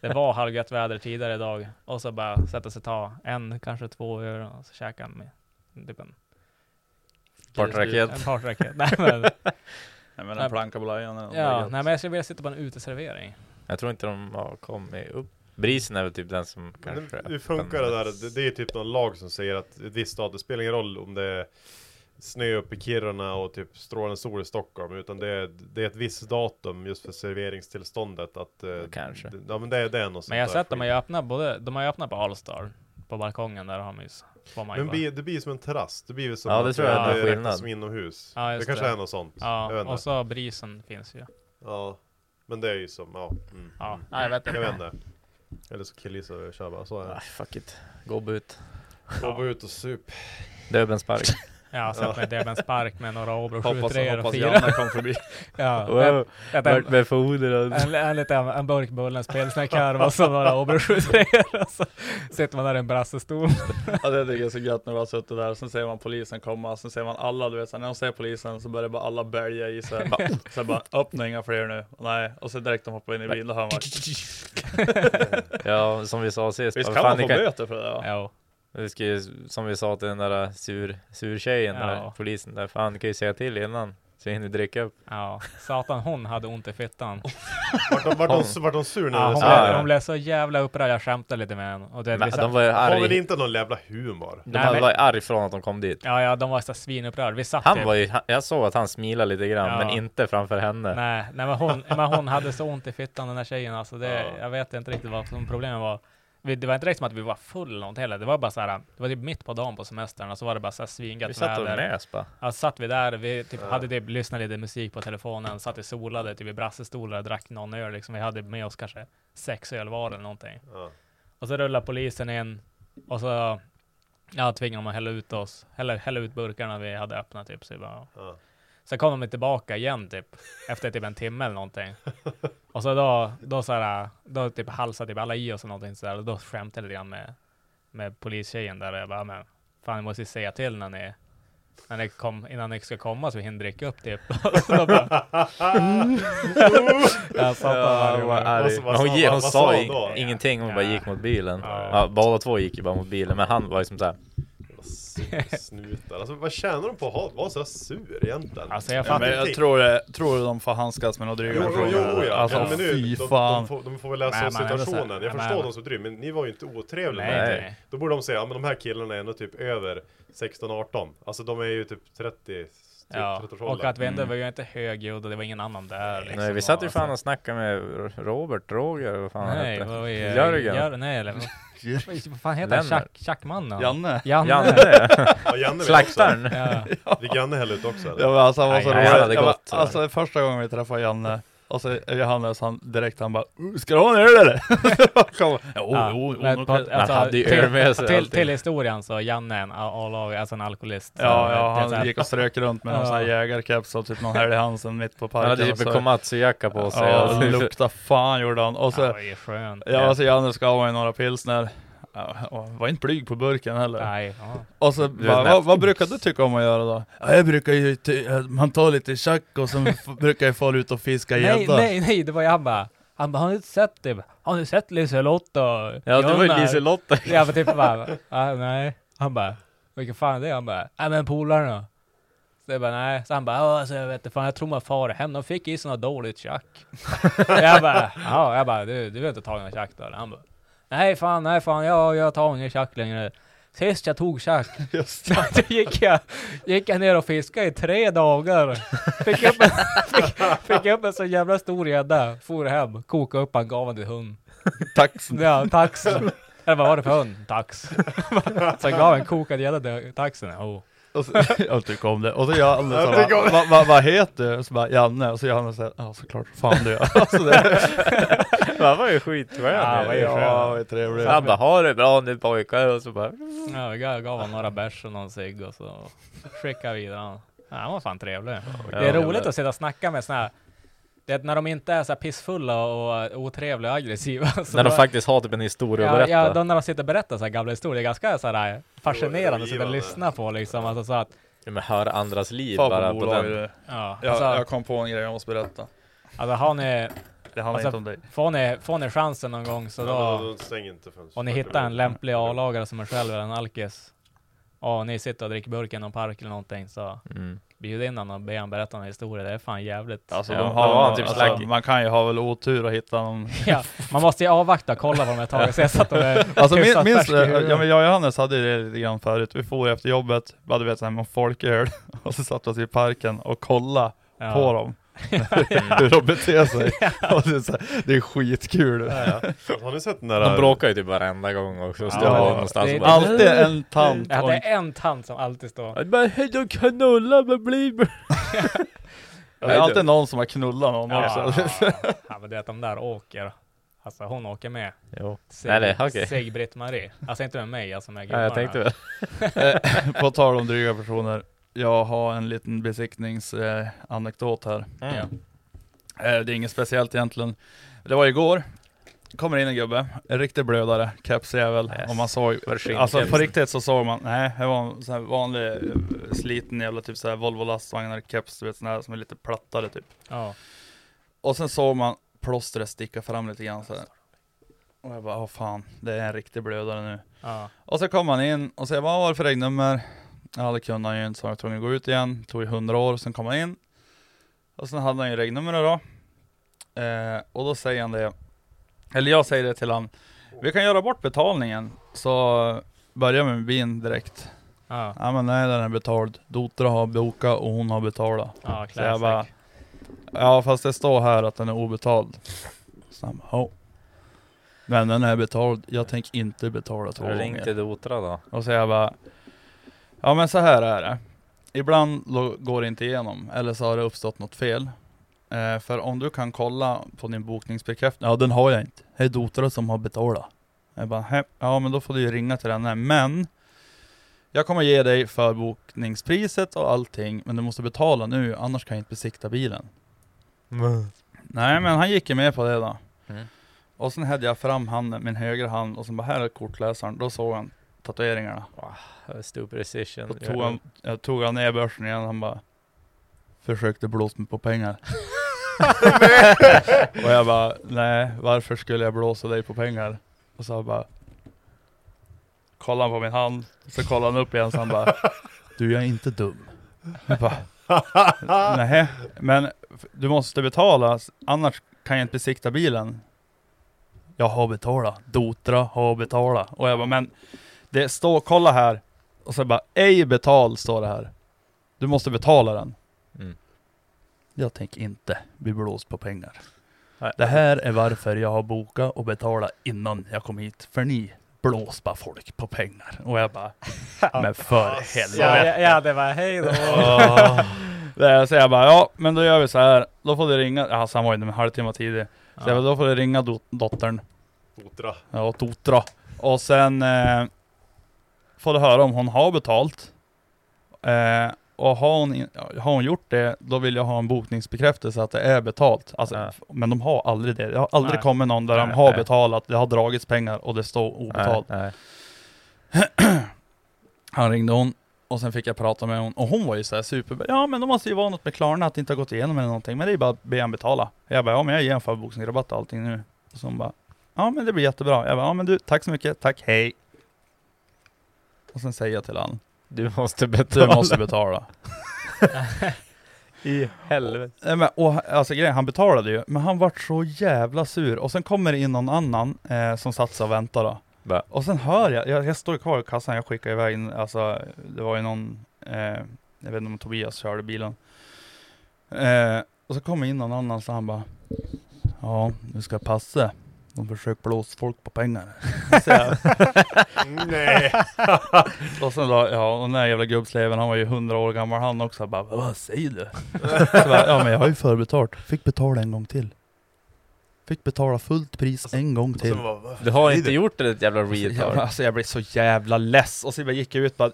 det var halvgött väder tidigare idag och så bara sätta sig ta en, kanske två öl och så käka med typ en Fartraket. En fartraket. Nej men, Nej men en planka på lajan eller något Ja, gött. nej men jag skulle vilja sitta på en uteservering. Jag tror inte de har kommit upp. Brisen är väl typ den som kanske... Hur funkar det där? Det, det är typ någon lag som säger att ett visst dag, det spelar ingen roll om det är snö uppe i Kiruna och typ strålande sol i Stockholm, utan det är, det är ett visst datum just för serveringstillståndet att... eh, Kanske. d- Ja men det är det är något sånt Men jag har där sett dem, skit. jag har öppnat både, de har ju öppnat på Allstar, på balkongen där har de ju s- får man ju Men bara- blir- det blir som en terrass, det blir väl som Ja, att det tror jag är det en räknas skillnad. som inomhus. Ja, det just kanske det. är något sånt. Jag Ja, vet och inte. så brisen finns ju. Ja, men det är ju som, ja. Mm. Ja, mm. nej, jag vet inte. jag vet inte. Eller så killgissar vi och kör bara, så är det. Nej, Ah, fuck it. Gå ut. Gå ut och sup. Döbens spark. Jag har sett mig döva en spark med några Åbro Hoppas- 7-3 och hoppas 4. Janne kom förbi. ja, Wow. ett- ett- Vart en, befordrad. en, en, liten, en burk Bullens pilsnerkorv och så några Åbro 7-3 och så sitter man där i en brassestol. Ja det tycker jag är så gött när vi har suttit där, och sen ser man polisen komma, sen ser man alla, du vet så här, när de ser polisen så börjar bara alla bälga i sig. Sen bara, öppna inga fler nu. Och Nej, och så direkt de hoppar in i bilen, då hör man Ja, som vi sa sist. Visst vad kan fan, man ni få böter för det? va? Ja. Vi ska ju, som vi sa till den där sur, sur tjejen, där, Ja. polisen där, fan kan ju säga till innan. Så hinner dricka upp. ja, satan hon hade ont i fittan. Vart de, vart de, vart de sur när Ja, det hon, spelar? blev, hon blev så jävla upprörd, jag skämtade lite med henne. Och det, Men vi sa- de var ju Har väl arg, inte någon jävla humor? de Nej, hade men- varit arg från att de kom dit. Ja, ja, de var så svinupprörda. Vi satt Han typ- var ju, han- jag såg att han smilade lite grann, Ja. men inte framför henne. Nej, nej men, hon, men hon hade så ont i fittan den här tjejen alltså. Det, Ja. Jag vet inte riktigt vad som problemet var. Vi, det var inte riktigt som att vi var full eller något heller. Det var bara så här, det var typ mitt på dagen på semestern och så var det bara så här svingött Vi satt och väder. nös bara. Ja, så satt vi där, vi typ Ja. hade typ lyssnat lite musik på telefonen, satt i solade typ i brassestolar och drack någon öl liksom. Vi hade med oss kanske sex öl var eller någonting. Ja. Och så rullar polisen in och så ja, tvingade de att hälla ut oss, hälla, hälla ut burkarna vi hade öppnat typ. Så vi bara, Ja. Sen kom de tillbaka igen typ, efter typ en timme eller någonting. Och så då, då så här, då typ halsade typ alla i oss eller någonting sådär. Och då skämtade jag lite grann med, med polistjejen där och jag bara, men fan ni måste ju säga till när ni, när ni kom, innan ni ska komma så vi hinner dricka upp typ. Och så bara, jag satt Ja, där hon och var var arg. Vad- vad Men hon, sa- ge, vad- hon vad sa sa ju hon då? ingenting, hon bara gick mot bilen. Ja. Ja, båda två gick ju bara mot bilen, men han var liksom ju som såhär, Snutar. Alltså vad tjänar de på att ha- vara så här sur egentligen? Alltså jag Ja, men fattar jag tror, det- tror de får handskas med något Jo, dryga jo, frågor. jo ja. Alltså men nu, fy de, fan. De, får, de får väl läsa Nej, om men ändå så- situationen. Jag nej, förstår men- de som driver, men ni var ju inte otrevliga. Nej, med nej. det. Då borde de säga, ja men de här killarna är ändå typ över 16-18. Alltså de är ju typ 30, Ja, 30 och att vi ändå var ju inte högljudd och det var ingen annan där. Liksom, nej vi satt ju Och fan så- och snackade med Robert, Roger, vad fan han Nej, hette. vad var det? Jörgen. Jör, nej, eller vad- vad fan heter han? Lennart. Schack- Schackmannen? Janne. Janne. Janne! Ja, Janne vet Slaktaren! Ja. också. Fick Janne hälla ut också eller? Ja, men alltså, han var så Nej, han hade rolig. Jag bara, gått, så. Alltså det är första gången vi träffade Janne, och så är Johannes han direkt han bara "Uh, Ska du ha en öl eller? Kom. jo, Ja, jo, jo, men nog på- oh, kan- alltså, Han hade ju till- öl med sig Till, alltid. till historien så, Janne är en a- A-lag, alltså en alkoholist. Så Ja, det är ja så här- han gick och strök runt med någon Ja. sån här jägarkeps och typ någon helg i Hansen mitt på Han parken. hade och typ så- en komatsu-jacka på sig. Ja, alltså. och- det lukta fan gjorde han. Och så, Ja, ja, det är skönt. alltså Janne gav mig några pilsner. Ja, och var inte blyg på burken heller. Nej, ja. Och så vet bara, när- vad, vad brukar du tycka om att göra då? Ja, jag brukar ju, ty- man tar lite tjack och sen f- brukar jag fara ut och fiska nej, gädda. nej, nej, det var jag bara. Han bara, har ni inte sett det? Har ni sett Liselotta? Ja, det var ju Liselotta. Ja, för typ bara, ah, nej. Han bara, vilken fan är det? Han bara, nej men polarna. Så jag bara, nej. Så han bara, ja alltså, jag vet inte fan, jag tror man far hem. De fick i sig något dåligt tjack. jag bara, ja, jag bara, du, du har inte tagit något tjack då? Han bara, nej fan, nej fan, jag, jag tar ingen tjack längre. Sist jag tog tjack, då gick jag, gick jag ner och fiskade i tre dagar. Fick upp en, fick, fick upp en så jävla stor gädda, for hem, kokade upp han, gav han till hund. Taxen. Ja, taxen. Eller vad var det för hund? Tax. så jag gav en kokad gädda till taxen. Oh. Och så, jag tycker om det. Och så jag Janne så Jag tycker om bara, det. vad va, vad heter du? Så bara Janne, och så Janne säger, ja såklart, fan du gör." alltså, det. Han var ju skitskön. Ja, vad gör jag? vad är trevligt. Han bara, ha det bra nu pojkar. Och så bara, Ja, jag gav honom några bärs och någon cigg och så skickade jag vidare honom. Ja, han var fan trevlig. det är ja, roligt men- att sitta och snacka med såna här det är när de inte är så här pissfulla och eh, otrevliga och aggressiva. Så när de då- faktiskt har typ en historia att ja, berätta. ja, då när de sitter och berättar så här gamla historier, det är ganska så här eh, fascinerande att sitta och Rådgivande. lyssna på liksom. Alltså, så att, Ja, men höra andras liv Fan, bara på på bolag är den. det. Ja, jag, alltså- jag kom på en grej jag måste berätta. Alltså- alltså har ni... Det handlar inte om dig. Får ni, får ni chansen någon gång så Ja, då... men då stäng inte förrän och ni 40 hittar en minuter. lämplig A-lagare som är själv eller en alkis. Och ni sitter och dricker burk i någon park eller någonting så Mm. bjud in honom och be honom berätta en historia. Det är fan jävligt. Alltså, de har, typ alltså, man kan ju ha väl otur att hitta någon Ja, man måste ju avvakta och kolla vad de har tagit sig Typ så att de är Alltså min, hyfsat minns färska i du, huvudet. ja, men jag och Johannes hade det lite grann förut, vi for efter jobbet, vi hade vet såhär med folköl, och så satt vi oss i parken och kollade Ja. på dem. Ja, ja. Hur de beter sig. Och det, är så här, det är skitkul. Har ni sett den där... De bråkar ju typ varenda gång också. Står Ja, någonstans det- och bara, alltid en tant Ja, och det en- är en tant som alltid står. Men hej då knulla med Bliber! Det är alltid någon som har knullat någon också. ja, men det är att de där åker. Alltså hon åker med. Jo. Sig- Nej, nej, okej. Sig-Britt Marie. Alltså inte med mig, alltså med Ja, jag gubbarna. tänkte Eh, på tal om dryga personer, jag har en liten besiktningsanekdot eh, anekdot här. Mm. Eh, det är inget speciellt egentligen. Det var igår, kommer in en gubbe, en riktig blödare, kepsjävel, Yes. och man såg, Förskinkel. alltså på riktigt så såg man, nej, det var en sån här vanlig eh, sliten jävla typ så här Volvo lastvagnar, keps, du vet sån här som är lite plattare typ. Ja. Och sen såg man plåstret sticka fram lite grann så här. Och jag bara, åh fan, det är en riktig blödare nu. Ja. Och så kom han in och sa, vad var det för regnummer? Ja det kunde han ju inte, så han var tvungen att gå ut igen. Tog ju 100 år, sen kom han in. Och sen hade han ju regnummer då. Eh, och då säger han det, eller jag säger det till han, vi kan göra bort betalningen, så börja med bilen direkt. Ja. ja men nej den är betald, Dotra har bokat och hon har betalat. Ja, så jag classic. bara, ja fast det står här att den är obetald. Så han bara, "Ja." Men den är betald, jag tänker inte betala två Ring gånger. till Dotra då. Och så jag bara, ja men så här är det. Ibland lo- går det inte igenom, eller så har det uppstått något fel. Eh, för om du kan kolla på din bokningsbekräftelse, ja den har jag inte. Det är Dotra som har betalat. Jag bara, "Hä? ja men då får du ju ringa till den här. Men, jag kommer ge dig förbokningspriset och allting, men du måste betala nu, annars kan jag inte besikta bilen. Nej men han gick ju med på det då. Mm. Och sen hade jag fram handen, min högra hand, och sen bara här är kortläsaren. Då såg han tatueringarna. Stor precision. Då tog han, jag tog han ner börsen igen, han bara Försökte blåsa mig på pengar. och jag bara, nej varför skulle jag blåsa dig på pengar? Och så han bara Kollade han på min hand, så kollade han upp igen så han bara Du jag är inte dum. Jag bara, nej men f- du måste betala, s- annars kan jag inte besikta bilen. Jag har betalat, Dotra har betalat. Och jag bara, men det står, kolla här. Och så bara, ej betal står det här. Du måste betala den. Mm. Jag tänker inte bli blåst på pengar. Det här är varför jag har bokat och betalat innan jag kom hit. För ni blåser bara folk på pengar. Och jag bara, men för Ja, ja, helvete. ja, det var hej då. Åh. Ah. Det här, Så jag bara, ja men då gör vi så här. Då får du ringa, alltså han var ju en halvtimme tidig. Så jag bara, då får du ringa dot- dottern. Dotra. Ja, Totra. Och sen eh, får du höra om hon har betalt. Eh, och har hon, in- har hon gjort det, då vill jag ha en bokningsbekräftelse att det är betalt. Alltså, f- Men de har aldrig det. Det har aldrig Nej. kommit någon där de Nej, har nej. betalat, det har dragits pengar och det står obetalt. Nej, nej. Han ringde hon Och sen fick jag prata med hon, och hon var ju såhär super, ja men det måste ju vara något med Klarna att det inte har gått igenom eller någonting, men det är bara att be han betala. Jag bara, ja men jag ger en förboksningsrabatt och allting nu. Och så hon bara, ja men det blir jättebra. Jag bara, ja men du, tack så mycket, tack, hej. Och sen säger jag till han, Du måste betala. Du måste betala. I helvete. Nej, men, och, alltså grejen, han betalade ju, men han vart så jävla sur. Och sen kommer det in någon annan eh, som satt sig och väntade. då. Och sen hör jag, jag, jag står kvar i kassan, jag skickar iväg in, alltså det var ju någon, eh, jag vet inte om Tobias körde bilen. Eh, och så kommer in någon annan så han bara, ja nu ska jag passa. De försöker blåsa folk på pengar. Så jag- Nej. och sen då, ja, och den där jävla gubbsleven, han var ju hundra år gammal han också. Jag bara, vad säger du? Så bara, ja men jag har ju förbetalt. Fick betala en gång till. Fick betala fullt pris en gång till. Du har inte gjort det ditt jävla retard. Jävla, alltså jag blev så jävla less, och så bara gick jag ut bara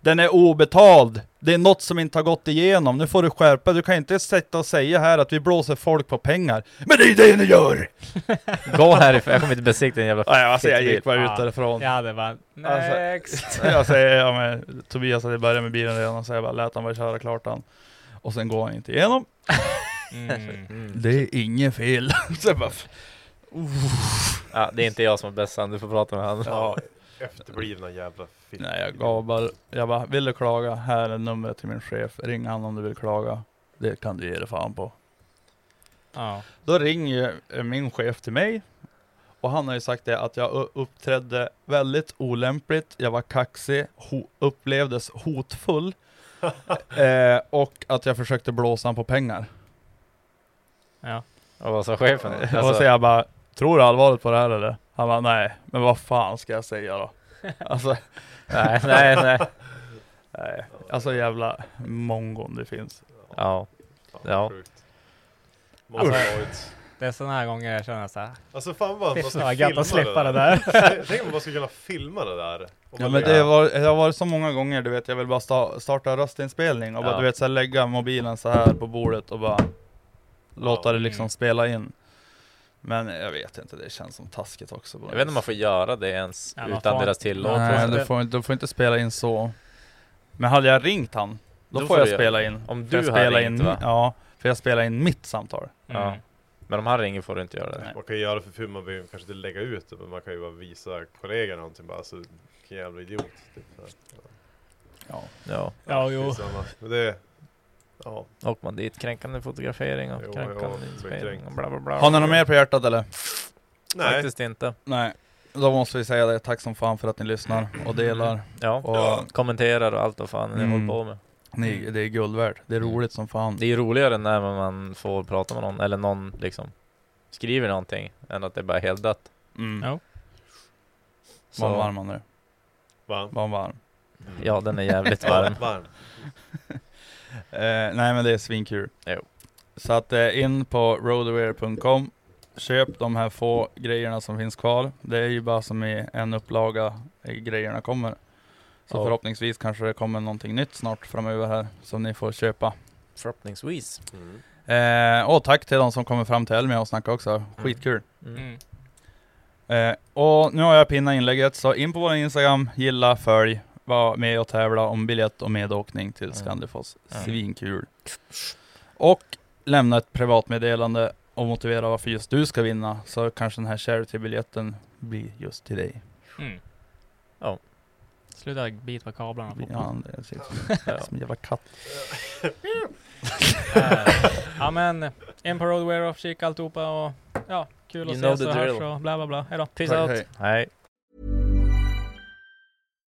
Den är obetald! Det är något som inte har gått igenom, nu får du skärpa Du kan inte sitta och säga här att vi blåser folk på pengar Men det är ju det ni gör! Gå härifrån, jag kommer inte besikta en jävla ja, alltså jag skitbil. gick bara ut Ja. därifrån Jag hade bara, Alltså, next! jag säger, ja, men, Tobias hade börjat med bilen redan, så jag bara lät han bara köra klart han Och sen går han inte igenom Mm. Det är inget fel! så jag bara, f- Ja, det är inte jag som är bästan, du får prata med han. Ja, efterblivna jävla fitt. Nej jag gav bara, jag bara, vill du klaga? Här är numret till min chef, ring han om du vill klaga. Det kan du ge dig fan på. Ja. Då ringer ju eh, min chef till mig och han har ju sagt det att jag u- uppträdde väldigt olämpligt, jag var kaxig, ho- upplevdes hotfull eh, och att jag försökte blåsa han på pengar. Ja. Och vad sa chefen? Alltså, Och så jag bara, tror du allvarligt på det här eller? Han bara, nej, men vad fan ska jag säga då? Alltså, Nej, nej, nej. nej. Alltså jävla mongon det finns. Ja. Ja. Alltså, det är sådana här mm. gånger jag känner såhär, Alltså fan vad Fy fan, man ska vad gött filma att slippa det det där. där. Tänk om man skulle kunna filma det där. Om Ja man men lägger- det, var, det har varit så många gånger du vet, jag vill bara sta, starta röstinspelning och bara Ja. du vet så här, lägga mobilen så här på bordet och bara låta det liksom spela in. Men jag vet inte, det känns som taskigt också. på något Jag vet inte om man vis. får göra det ens Ja, man utan får- deras tillåtelse. Nej, du får, inte- du får inte spela in så. Men hade jag ringt han, Då då, får får jag du- spela in. om För du jag har spelar ringt, in, va? Ja, för jag spelar in mitt samtal. Ja. Men om han ringer får du inte göra det. Man kan ju göra för film, man behöver kanske inte lägga ut det, men man kan ju bara visa kollegor någonting bara, alltså vilken jävla idiot. Typ, så här. Ja. Ja. Ja, det är jo. samma. Men det, ja. Och man dit, kränkande fotografering och Jo, jo, kränkande blir inspelning kränkt. och bla bla bla. Har ni något mer på hjärtat eller? Nej. Faktiskt inte. Nej. Då måste vi säga det, tack som fan för att ni lyssnar och delar. Ja. Och Kommenterar och allt vad fan ni Mm. håller på med. ni, det är guld värt. Det är Mm. roligt som fan. Det är ju roligare när man får prata med någon, eller någon liksom skriver någonting, än att det bara är helt dött. Mm. Ja. Var han varm han nu? Varm. Var han varm? Ja, den är jävligt varm. varm. Eh, nej men det är svinkul. Jo. Så att eh, in på roadaware.com Köp de här få grejerna som finns kvar. Det är ju bara som i en upplaga eh, grejerna kommer. Så Ja. förhoppningsvis kanske det kommer någonting nytt snart framöver här som ni får köpa. Förhoppningsvis. Mm. Eh, och tack till de som kommer fram till Elmia och snackar också. Skitkul. Mm. Eh, och nu har jag pinnat inlägget, så in på vår Instagram, gilla, följ, var med och tävla om biljett och medåkning till Scandifoss. Mm. Svinkul! Och lämna ett privatmeddelande och motivera varför just du ska vinna, så kanske den här charity-biljetten blir just till dig. Mm. Ja. Sluta bit på kablarna. på. Ja, det ser ut som, som en jävla katt. Eh, ja men, in på Roadwear och kika alltihopa och ja, kul att You know ses och the hörs drill. och bla bla bla. Hejdå. Peace Tack, out. hej. Hej.